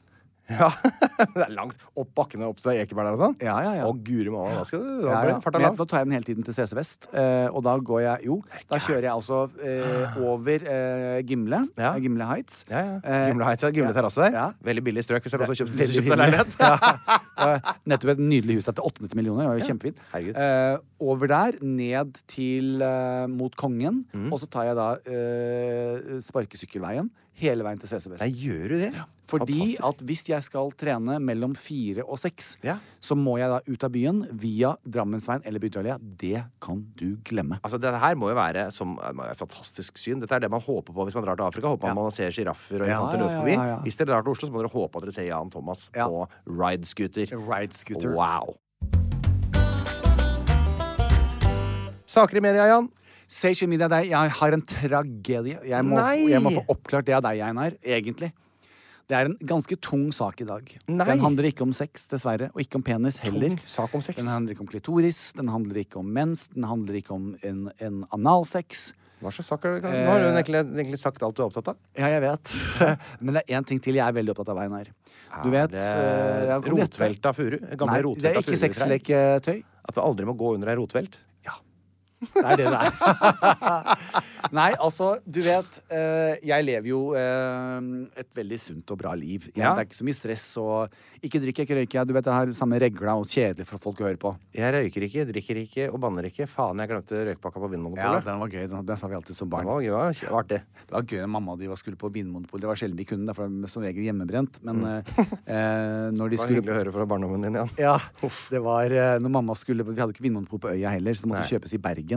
Ja, det er langt. Opp bakkene, opp til Ekeberg der og sånn.
Ja, ja, ja.
Å, guri malla, da skal du da
Ja,
blir
ja.
farta
Men jeg-
lav.
Nå tar jeg den hele tiden til CC Vest, eh, og da går jeg Jo, da kjører jeg altså eh, over eh, Gimle.
Ja.
eh, Gimle Heights.
Ja, ja.
Eh,
Gimle Heights, ja. Gimle terrasse der.
Ja.
Veldig billig strøk hvis jeg bare så kjøpt, hvis
Veldig
du kjøpte deg
hyggelig.
leilighet.
Ja. Eh, Nettopp et nydelig hus der til 890 millioner. Det var jo kjempefint.
Herregud.
Eh, over der, ned til eh, mot Kongen.
Mm.
Og så tar jeg da eh, sparkesykkelveien hele veien til CC Vest.
Nei, gjør du det?
Fordi
Fantastisk.
at hvis jeg skal trene mellom fire og seks,
Ja.
så må jeg da ut av byen via Drammensveien eller Bygdøylia. Det kan du glemme.
Altså, det her må jo være som det må være et fantastisk syn. Dette er det man håper på hvis man drar til Afrika. Håper man, man ser giraffer og
Ja,
elefanter
ja,
løpe
ja,
forbi.
ja, ja.
Hvis dere drar til Oslo, så må dere håpe at dere ser Jan Thomas
Ja.
på ridescooter.
Ridescooter.
Wow. Saker i media, Jan.
Sage Media deg, jeg har en tragedie. Jeg må,
Nei!
jeg må få oppklart det av deg, Einar. Egentlig. Det er en ganske tung sak i dag.
Nei!
Den handler ikke om sex, dessverre. Og ikke om penis heller.
sak om sex.
Den handler ikke om klitoris, den handler ikke om mens, den handler ikke om en, en analsex.
Hva slags saker kan- Nå har du egentlig, egentlig sagt alt du er opptatt av.
Ja, jeg vet. Men det er én ting til jeg er veldig opptatt av, Einar. Du vet eh, det
Eh,
er- kom dette.
Rotvelta furu. Gamle
Nei,
rotvelta
det er ikke
furutrær.
sexleketøy.
At du aldri må gå under ei rotvelt.
Det er det det er. Nei, altså, du vet eh, Jeg lever jo eh, et veldig sunt og bra liv. Jeg,
Ja.
Det er ikke så mye stress og Ikke drikk, jeg ikke røyker. jeg. Du vet, det er samme regla og kjedelig for folk å høre på.
Jeg røyker ikke, drikker ikke og banner ikke. Faen, jeg glemte røykpakka på Vinmonopolet.
den var gøy. Den, den sa vi alltid som
det
barn.
var, det var, det var artig.
Det var gøy når mamma og de var- skulle på Vinmonopolet. Det var sjelden de kunne, derfor er de som regel hjemmebrent. Men eh, eh, når de
Det var
skulle
hyggelig å høre fra barndommen din igjen.
Ja, det var eh, når mamma skulle Vi hadde ikke Vinmonopol på øya heller, så det måtte kjøpes i Bergen.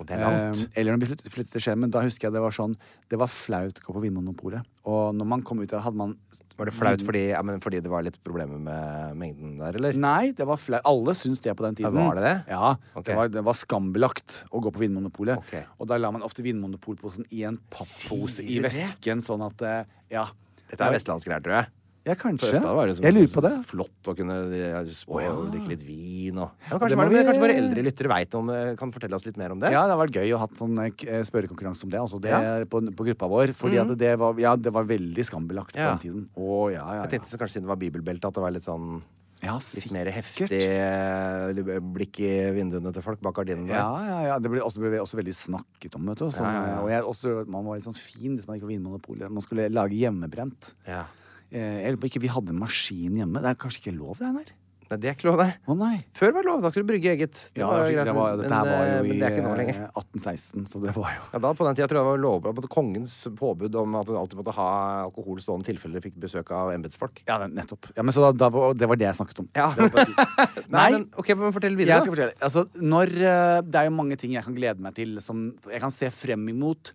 Og det er langt.
Eh, eller når vi flyttet, flyttet til Skjermen. Da husker jeg det var sånn Det var flaut å gå på Vinmonopolet. Og når man kom ut der, hadde man
Var det flaut fordi, ja, men fordi det var litt problemer med mengden der, eller?
Mm. Nei, det var flaut. Alle syntes det på den tiden.
Ja, var det det?
Ja.
Ok.
Det, var, det var skambelagt å gå på Vinmonopolet.
Ok.
Og da la man ofte Vinmonopolposen i en pappose i
Sier du det?
vesken, sånn at eh, Ja.
Dette er vestlandsgreier, tror jeg.
Ja,
På
kanskje.
Østlandet var det som,
Jeg lurer på det.
flott å kunne ja, spå og drikke litt vin og ja,
det må
kanskje, var det, men
vi-
kanskje våre eldre lyttere vet om eh, Kan fortelle oss litt mer om det?
Ja, det har vært gøy å ha hatt sånn eh, k- eh, spørrekonkurranse om det, altså det
Ja. Mm.
på, på gruppa vår. Fordi at det var, ja, det var veldig skambelagt på
Ja.
den tiden. Å, ja, ja,
Jeg
ja.
tenkte så kanskje siden det var bibelbelte at det var litt sånn
Ja,
Litt mer
sikkert.
heftig eh, blikk i vinduene til folk bak gardinene.
Ja, ja, ja. Det ble også, ble også veldig snakket om, vet du. Sånn, Og jeg, også, man var litt sånn fin hvis man gikk på Vinmonopolet. Man skulle lage hjemmebrent.
Ja.
Eh, Jeg lurer på ikke vi hadde en maskin hjemme. Det er kanskje ikke lov, det her?
Nei, det er ikke lov, nei.
Å nei.
Før var det lov. Da skulle du brygge eget. Det
Ja,
var
det
greit,
var,
men-
dette her var
men,
jo
eh,
i
men det er ikke nå
eh,
lenger.
1816, så det var jo
Ja, da på den tida tror jeg det var lovbladet kongens påbud om at du alltid måtte ha alkohol stående i tilfelle du fikk besøk av embetsfolk.
Ja, det- nettopp. Ja, men så da, da var, det var det jeg snakket om.
Ja.
Det var-
Nei, men, ok, men fortell videre.
Jeg skal fortelle. Altså, når, eh, det er jo mange ting jeg kan glede meg til. Som jeg kan se frem imot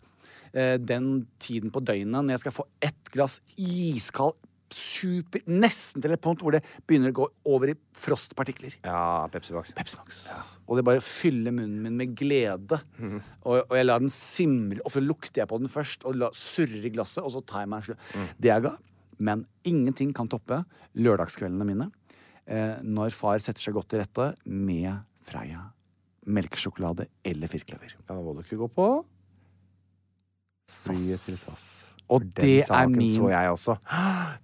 eh, den tiden på døgnet når jeg skal få ett glass iskald super Nesten til et punkt hvor det begynner å gå over i frostpartikler.
Ja, Pepsi Max.
Pepsi Max. Og det bare fyller munnen min med glede.
Mhm.
Og, og jeg lar den simre. Ofte lukter jeg på den først og la, surrer i glasset, og så tar jeg meg en slurk.
Mhm.
Det er ga. Men ingenting kan toppe lørdagskveldene mine eh, når far setter seg godt til rette med Freia melkesjokolade eller firkløver.
Ja, da må du ikke gå på. Flyet til
Sass. Og
Den
det er
saken
min
så jeg også.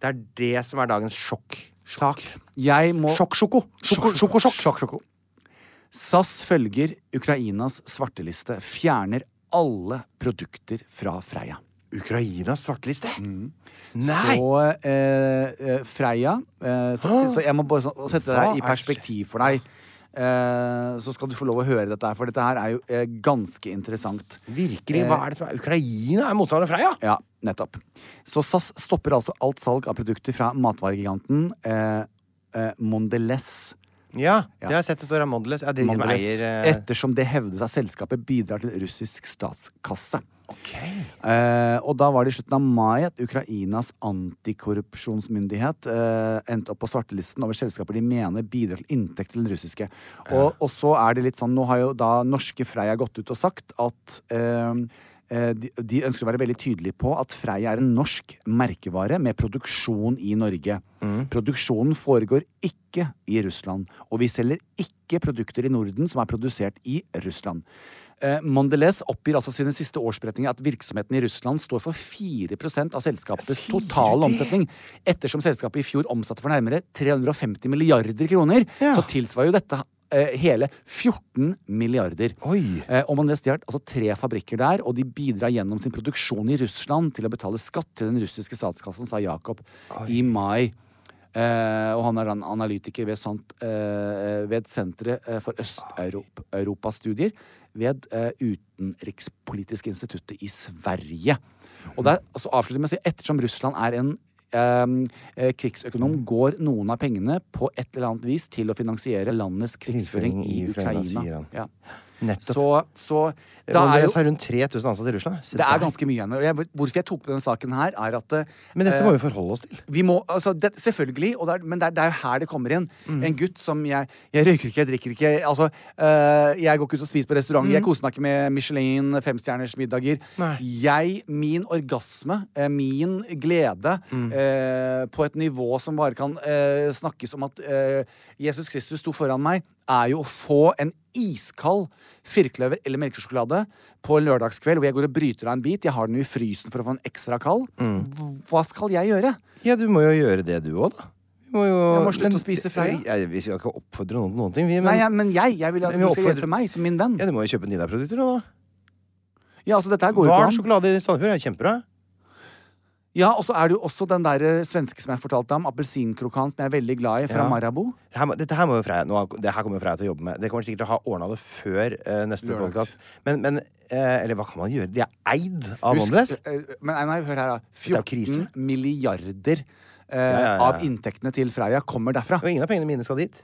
Det er det som er dagens sjokksak.
Jeg må
Sjokksjoko. Sjoko- Sjokosjokk.
Sjokk-sjoko. SAS følger Ukrainas svarteliste, fjerner alle produkter fra Freia.
Ukrainas svarteliste? Nei!
Så eh, eh, Freia eh, så, så jeg må bare sånn- sette det
Hva
her i
er
perspektiv for deg. Eh, så skal du få lov å høre dette her, for dette her er jo eh, ganske interessant.
Virkelig, hva er det som er Ukraina er motstanderen av Freia?
Ja, nettopp. Så SAS stopper altså alt salg av produkter fra matvaregiganten eh, eh, Mondelez.
Ja, det har jeg sett det står her. Mondelez. Ja, det er de som
Mondelez,
eier eh,
ettersom det hevdes at selskapet bidrar til russisk statskasse.
Ok.
Eh, og da var det i slutten av mai at Ukrainas antikorrupsjonsmyndighet eh, endte opp på svartelisten over selskaper de mener bidrar til inntekt til den russiske. Og, og så er det litt sånn, nå har jo da norske Freia gått ut og sagt at eh, eh, de, de ønsker å være veldig tydelige på at Freia er en norsk merkevare med produksjon i Norge. Produksjonen foregår ikke i Russland, og vi selger ikke produkter i Norden som er produsert i Russland. Eh, Mondelez oppgir altså sine siste årsberetninger at virksomheten i Russland står for 4 av selskapets
Sier
totale
de?
omsetning. Ettersom selskapet i fjor omsatte for nærmere 350 milliarder kroner,
Ja.
så tilsvarer jo dette eh, hele 14 milliarder.
Oi.
Eh, og Mondelez de har altså tre fabrikker der, og de bidrar gjennom sin produksjon i Russland til å betale skatt til den russiske statskassen, sa Jakob i mai. Eh, og han er en analytiker ved, Sant, eh, ved Senteret eh, for Øst-Europastudier ved eh, Utenrikspolitiske instituttet i Sverige. Og der altså, avslutter jeg med å si ettersom Russland er en eh, eh, krigsøkonom, går noen av pengene på et eller annet vis til å finansiere landets krigsføring i
Krigføring i Ukraina,
Ukraina.
sier han.
Ja.
Nettopp.
Så, så da er
Mondelez
jo
har rundt 3000 ansatte i Russland. Se
Det
der.
er ganske mye igjen. Og jeg- Hvorfor jeg tok på denne saken her, er at eh,
Men dette må vi forholde oss til.
vi må, altså, det, selvfølgelig, og det er, men det er, det er jo her det kommer inn. En gutt som jeg Jeg røyker ikke, jeg drikker ikke. Altså, øh, jeg går ikke ut og spiser på restaurant. Jeg koser meg ikke med Michelin, femstjerners middager.
Nei.
Jeg, min orgasme, eh, min glede, eh, på et nivå som bare kan eh, snakkes om at eh, Jesus Kristus sto foran meg, er jo å få en iskald firkløver eller melkesjokolade på en lørdagskveld hvor jeg går og bryter av en bit. Jeg har den jo i frysen for å få den ekstra kald. Hva skal jeg gjøre?
Ja, du må jo gjøre det, du òg, da. Vi må jo
Jeg må slutte å spise Freia.
Jeg, vi skal ikke oppfordre noen til noen ting, vi. Men
Nei, jeg, men jeg, jeg vil at
Men vi
du skal
oppfordrer-
hjelpe meg som min venn.
ja, du må jo kjøpe Nidar-produkter nå, da.
Ja, altså dette her går jo
Hval
ikke an.
sjokolade i Sandefjord er kjempebra.
Ja, Og så er det jo også den der eh, svenske som jeg fortalte om, appelsinkrokan, som jeg er veldig glad i, fra
Ja.
Marabou.
Her, må- dette her må jo Freia nå, Det her kommer jo Freia til å jobbe med. Det kommer de sikkert til å ha ordna det før eh, neste
Lørdags.
podkast. Men, men eh, Eller hva kan man gjøre? De er eid av
Husk-
Mondelez.
eh, Men nei, nei, hør her, da.
er jo
14
krise.
milliarder eh,
ja, ja.
av inntektene til Freia kommer derfra.
Og ingen av pengene mine skal dit.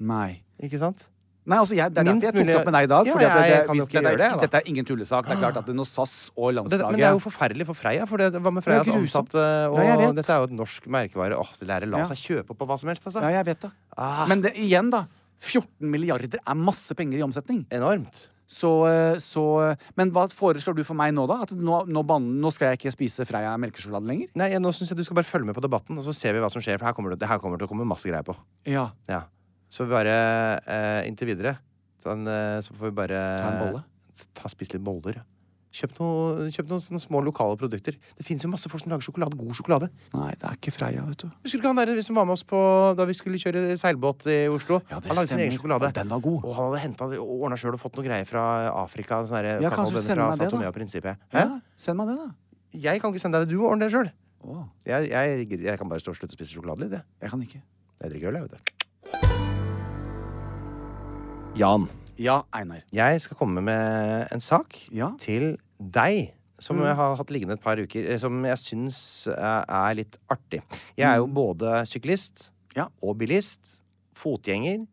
Nei.
Ikke sant?
Nei, altså jeg, Det er
Minst
derfor jeg tok det opp med deg i dag.
mulig- Ja,
fordi at
jeg
det,
kan jo
hvis-
ikke gjøre det, da.
Dette er ingen tullesak. Det er klart at det er noe SAS og
Og dette- men det er jo
landslaget
forferdelig for Freia. For det, hva
er
med Freias
grusomt.
ansatte? Og
Ja, jeg vet.
dette er jo et norsk merkevare. Åh, det der la
Ja.
seg kjøpe på hva som helst, altså.
Ja, jeg vet det. Men det, igjen, da. 14 milliarder er masse penger i omsetning.
Enormt.
Så, eh, så eh, Men hva foreslår du for meg nå, da? At nå, nå, ban- nå skal jeg ikke spise Freia melkesjokolade lenger?
Nei, jeg, nå synes jeg du skal bare følge med på debatten, og så ser vi hva som skjer. For her kommer det, det her kommer til å komme masse greier på.
Ja.
Ja. Så vi bare eh, inntil videre. Sånn, eh, så får vi bare
Ta en bolle?
Ta, spise litt boller. ja. Kjøp, noe, kjøp noen sånne små lokale produkter. Det fins jo masse folk som lager sjokolade, god sjokolade.
Nei, det er ikke Freia, vet du.
Husker du ikke han der som var med oss på, da vi skulle kjøre seilbåt i Oslo?
Ja, det
han lagde sin egen
stemmer.
sjokolade.
Og den var god.
Og han hadde hentet, og ordna sjøl og fått noe greier fra Afrika. Sånne der,
Ja, kanskje
kakao-
du
bønner
sender
fra
meg det,
Sao
da?
Tome og Príncipe.
Ja,
Hæ?
send meg det, da.
Jeg kan ikke sende deg det. Du må ordne det sjøl.
Å,
Jeg, jeg, gidder- jeg kan bare stå og slutte å spise sjokolade litt, jeg.
jeg kan ikke.
Jeg drikker øl, jeg, vet du. Jan,
Ja, Einar.
jeg skal komme med en sak
Ja. Mm.
til deg. Som jeg har hatt liggende et par uker, eh, som jeg syns eh, er litt artig. Jeg er jo både syklist
Mm. Ja.
og bilist. Fotgjenger.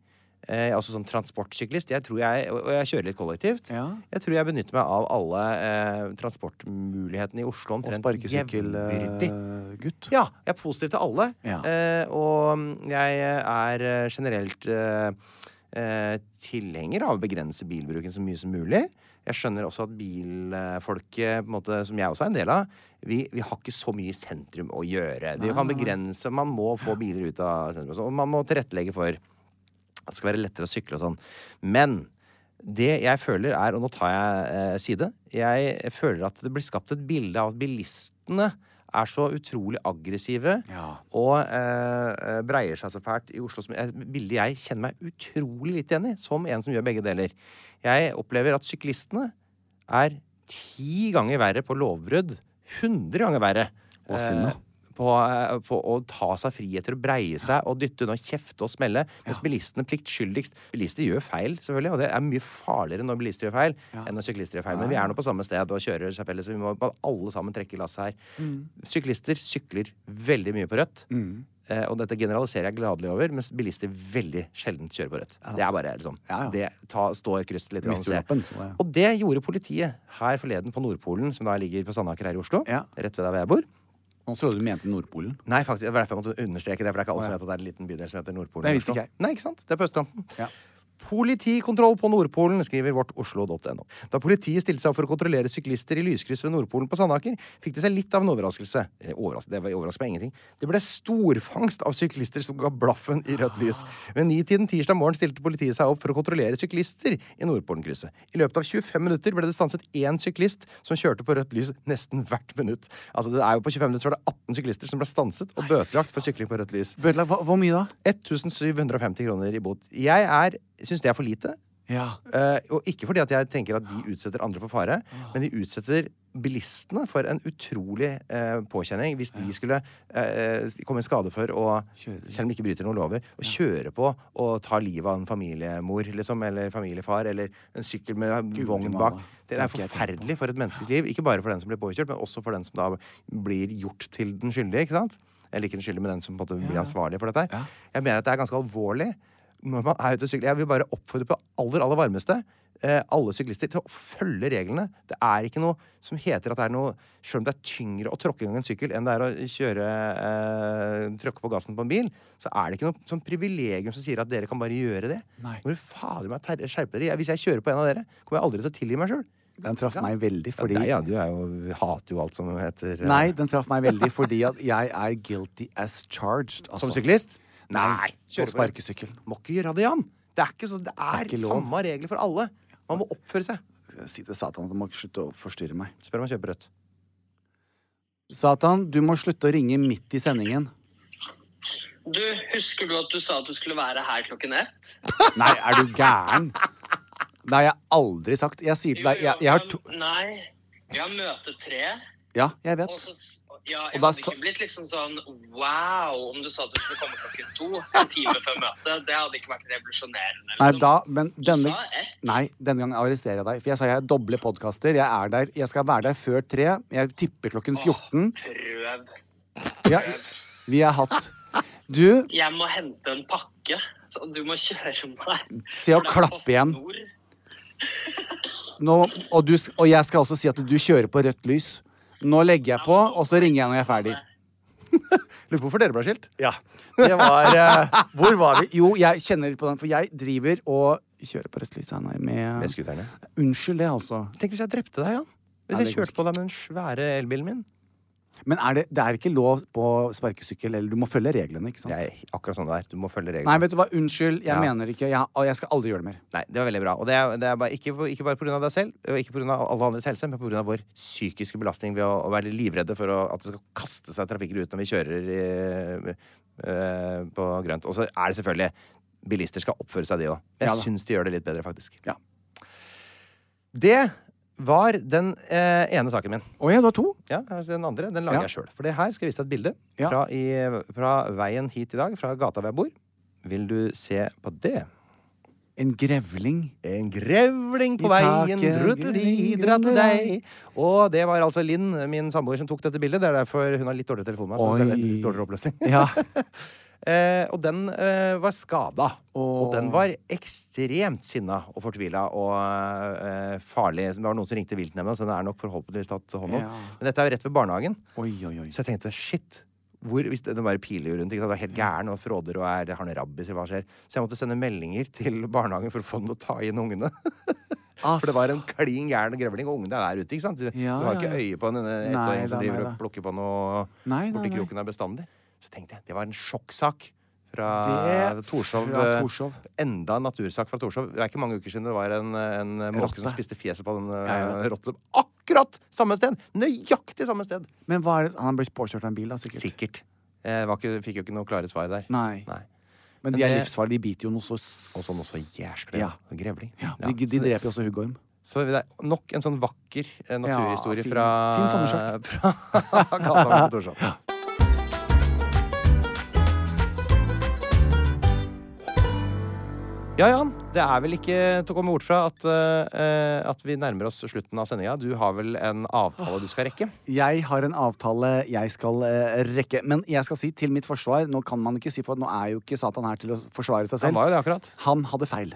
Eh, altså sånn transportsyklist. Jeg tror jeg, og og jeg kjører litt kollektivt.
Ja.
Jeg tror jeg benytter meg av alle eh, transportmulighetene i Oslo
Og eh,
omtrent jevnbyrdig.
sparkesykkelgutt.
Ja, jeg er positiv til alle.
Ja.
Eh, og mm, jeg er eh, generelt eh, eh, tilhenger av å begrense bilbruken så mye som mulig. Jeg skjønner også at bilfolket, på en måte, som jeg også er en del av, vi, vi har ikke så mye i sentrum å gjøre. Det kan begrense, Man må få biler ut av sentrum, og sånn, og man må tilrettelegge for at det skal være lettere å sykle og sånn. Men det jeg føler er, og nå tar jeg eh, side, jeg føler at det blir skapt et bilde av at bilistene er så utrolig aggressive
Ja.
og eh, breier seg så fælt i Oslo. som- Et bilde jeg kjenner meg utrolig litt igjen i, som en som gjør begge deler. Jeg opplever at syklistene er ti ganger verre på lovbrudd. Hundre ganger verre.
Og sinne.
Eh, På, eh, på å ta seg friheter og breie seg og dytte unna, kjefte og smelle. Mens bilistene pliktskyldigst Bilister gjør feil, selvfølgelig, og det er mye farligere når bilister gjør feil enn når syklister gjør feil. Men vi er nå på samme sted og kjører seg felles, så vi må alle sammen trekke lasset her.
Mm.
Syklister sykler veldig mye på rødt. Eh, og dette generaliserer jeg gladelig over, mens bilister veldig sjelden kjører på rødt. Det er bare liksom
Ja, ja.
Det ta, stå i kryss litt.
Mister
og se.
lappen, så det-
Og det gjorde politiet her forleden på Nordpolen, som da ligger på Sandaker her i Oslo.
Ja.
Rett ved der hvor jeg bor.
Nå trodde du mente Nordpolen.
Nei, faktisk, det var derfor jeg måtte understreke det, for det er ikke alle som
Å, ja.
vet at det er en liten bydel som heter Nordpolen.
Det
i
visste
Oslo.
ikke jeg.
Nei, ikke sant? Det er på østkanten.
Ja.
Politikontroll på Nordpolen, skriver vårt oslo.no. Da politiet stilte seg opp for å kontrollere syklister i lyskryss ved Nordpolen på Sandaker, fikk de seg litt av en overraskelse. Eh, Overras det var overraskende med ingenting. Det ble storfangst av syklister som ga blaffen i rødt lys. Ved nitiden tirsdag morgen stilte politiet seg opp for å kontrollere syklister i Nordpolenkrysset. I løpet av 25 minutter ble det stanset én syklist som kjørte på rødt lys nesten hvert minutt. Altså, det er jo på 25 minutter så var det 18 syklister som ble stanset og bøtelagt for sykling på rødt lys.
Bødelag, hva, hvor mye da?
1750 kroner i bot. Jeg er, syns det er for lite.
Ja.
Eh, og ikke fordi at jeg tenker at de utsetter andre for fare, men de utsetter bilistene for en utrolig eh, påkjenning hvis de skulle eh, eh, komme i skade for å, selv om de ikke bryter noen lover, å kjøre på og ta livet av en familiemor liksom, eller familiefar eller en sykkel med
Guri
vogn
malla.
bak.
Det
Det
har
er
ikke jeg tenkt
forferdelig for et menneskes liv. Ikke bare for den som blir påkjørt, men også for den som da blir gjort til den skyldige. ikke sant? Eller ikke den skyldige, men den som på en måte blir ansvarlig for dette. her. Jeg mener at det er ganske alvorlig når man er ute og sykler. Jeg vil bare oppfordre på aller, aller varmeste eh, alle syklister til å følge reglene. Det er ikke noe som heter at det er noe Selv om det er tyngre å tråkke i gang en sykkel enn det er å kjøre eh, tråkke på gassen på en bil, så er det ikke noe sånn privilegium som sier at dere kan bare gjøre det.
Nei.
Når du fader meg ter- skjerper dere. Jeg- Hvis jeg kjører på en av dere, kommer jeg aldri til å tilgi meg sjøl.
Den traff meg veldig fordi
Fordi... Ja, du er jo, hater jo alt som heter eh,
Nei, den traff meg veldig fordi at jeg er guilty as charged. altså.
Som syklist?
Nei.
Kjører
På sparkesykkel.
Må ikke gjøre det, Jan. Det er ikke så, det er,
ikke lov.
samme regler for alle. Man må oppføre seg.
Si til Satan at han må slutte å forstyrre meg.
Spør om han kjøper rødt.
Satan, du må slutte å ringe midt i sendingen.
Du, husker du at du sa at du skulle være her klokken ett?
Nei, er du gæren? Det har jeg aldri sagt. Jeg sier til deg jeg, jeg har to
Nei, vi har møte tre.
Ja, jeg
Og
vet.
så s- ja, jeg
Og da
hadde
sa-
ikke blitt liksom sånn wow om du sa at du skulle komme klokken to, en time før møtet. Det hadde ikke vært revolusjonerende.
Nei,
liksom.
da, men denne
sa ett.
Nei, denne gangen arresterer jeg deg. For jeg sa jeg har doble podkaster. Jeg er der. Jeg skal være der før tre. Jeg tipper klokken 14.
Prøv.
Ja, vi har hatt Du,
Jeg må hente en pakke, så du må kjøre meg.
Se
For det
og
er
klappe igjen.
PostNord.
nå, og, du, og jeg skal også si at du kjører på rødt lys. Nå legger jeg på, og så ringer jeg når jeg er ferdig.
Lurer på hvorfor dere ble skilt.
Ja. Det var eh, Hvor var vi? Jo, jeg kjenner litt på den, for jeg driver og kjører på rødt lys Einar, med
Med skuterne.
Unnskyld det, altså.
Tenk hvis jeg drepte deg, Jan. Hvis
Nei, det
jeg
går
kjørte på deg med den svære elbilen min.
Men er det, det er ikke lov på sparkesykkel, eller du må følge reglene, ikke sant?
Det er akkurat sånn det er. Du må følge reglene.
Nei, vet du hva, unnskyld, jeg
Ja.
mener ikke, jeg, og jeg skal aldri gjøre det mer.
Nei, det var veldig bra. Og det er, det er bare, ikke, ikke bare pga. deg selv, og ikke pga. alle andres helse, men pga. vår psykiske belastning ved å, å være livredde for å, at det skal kaste seg trafikker ut når vi kjører eh, eh, på grønt. Og så er det selvfølgelig Bilister skal oppføre seg, de òg. Jeg
Ja da.
syns de gjør det litt bedre, faktisk.
Ja.
Det var den eh, ene saken min.
Å ja, du har to?
Ja, her er Den andre den lager
Ja.
jeg sjøl. For det her skal jeg vise deg et bilde
Ja.
fra, i, fra veien hit i dag. Fra gata hvor jeg bor. Vil du se på det?
En grevling.
En grevling på
I
veien,
taket,
druttelidra til deg. Og det var altså Linn, min samboer, som tok dette bildet. Det er derfor hun har litt dårligere telefon. med, Så
Oi.
hun ser litt dårligere oppløsning.
Ja.
Eh, og den eh, var skada.
Åh.
Og den var ekstremt sinna og fortvila og eh, farlig. Det var noen som ringte viltnemnda, så den er nok forhåpentligvis tatt hånd om.
Ja.
Men dette er jo rett ved barnehagen.
Oi, oi, oi.
Så jeg tenkte shit. Hvor, hvis det, den bare piler jo rundt. Ikke sant? Det er helt gæren og fråder og er, har en rabbis eller hva skjer. Så jeg måtte sende meldinger til barnehagen for å få dem til å ta inn ungene. For det var en klin gæren grevling, og ungene er der ute. ikke sant? Du,
Ja,
du har ikke
ja, ja.
øye på en en
Nei,
ettåring som
da,
driver
nei,
og
da.
plukker på noe
Nei, nei,
borti
nei.
kroken der bestandig. Så tenkte jeg, det var en sjokksak fra
Det-
Torshov. eh,
fra Torshov.
Enda en natursak fra Torshov. Det er ikke mange uker siden det var en, en måke som
rotte.
spiste fjeset på den
Ja,
eh, rotte. Akkurat samme sted! Nøyaktig samme sted!
Men hva er det? han ble påkjørt av en bil, da, sikkert.
Sikkert. Jeg var ikke, fikk jo ikke noe klare svar der.
Nei.
Nei.
Men de
Men
er
det-
livsfarlige, de biter jo noe så s-
Og sånn også jæsklig.
Ja.
Grevling.
Ja,
Ja,
de, de
så det-
dreper jo også huggorm.
Så det er nok en sånn vakker eh,
Ja,
naturhistorie
fin-
fra
fin sommersjakt.
Fra Gata på Torshov. Ja, Jan. Det er vel ikke til å komme bort fra at, eh, at vi nærmer oss slutten av sendinga. Du har vel en avtale du skal rekke?
Jeg har en avtale jeg skal eh, rekke. Men jeg skal si til mitt forsvar Nå kan man ikke si for at nå er jo ikke Satan her til å forsvare seg
Han
selv.
var jo det akkurat.
Han hadde feil.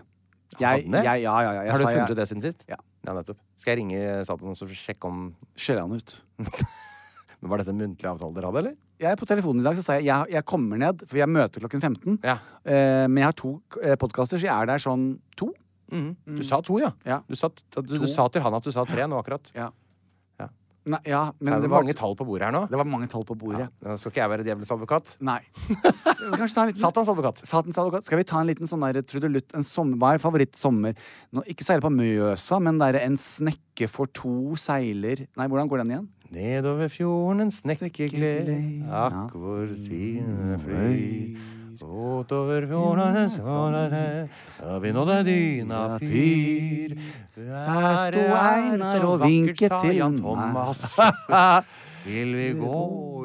Jeg,
Hadde han det?
Jeg, ja, ja, ja, jeg
har du
sa
funnet ut
jeg,
det siden sist?
Ja.
nettopp. Skal jeg ringe Satan og så sjekke om
Skjeller han ut.
Men Var dette en muntlig avtale dere hadde, eller?
Jeg er på telefonen i dag, så sa jeg jeg, jeg kommer ned, for jeg møter klokken 15.
Ja.
Eh, men jeg har to uh, podkaster, så jeg er der sånn to.
Du sa to, ja.
Ja.
Du, sa, du, du sa til han at du sa tre nå akkurat.
Ja.
Ja.
Nei, ja men
det,
det
er
var,
mange tall på bordet her nå.
det var mange tall på bordet.
Nå skal ikke jeg være djevelens advokat.
Nei. Kanskje ta en liten
Satans advokat.
Satans advokat. Skal vi ta en liten sånn der trudelutt? En sommer, hva er favorittsommer? Nå, ikke seile på Mjøsa, men der en snekke for to seiler Nei, hvordan går den igjen?
Nedover fjorden en snekkegled, Mm,
Snekkegled,
akk hvor tiden fløy. Åtover fjorden en svalare, da vi nådde dyna fyr.
Her sto Einar og vinket til meg.
Thomas. Vil vi gå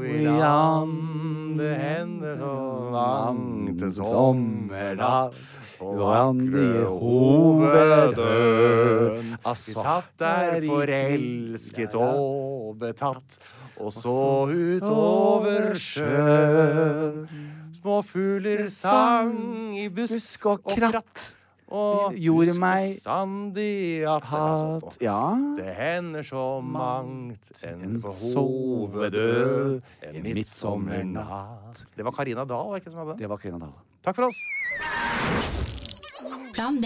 i land, det hender så langt en sommernatt. På vakre hovedøen. Vi satt der forelsket og betatt, og så utover sjøen. Små fugler sang i busk og kratt. Og
Gjorde meg
bestandig at altså,
Hat Ja.
det hender så mangt en
En
på
sovedød,
hovedød
en
en midtsommernatt. Det var Karina Dahl, var det ikke som hadde det?
Det var Karina Dahl.
Takk for oss.
Plan B.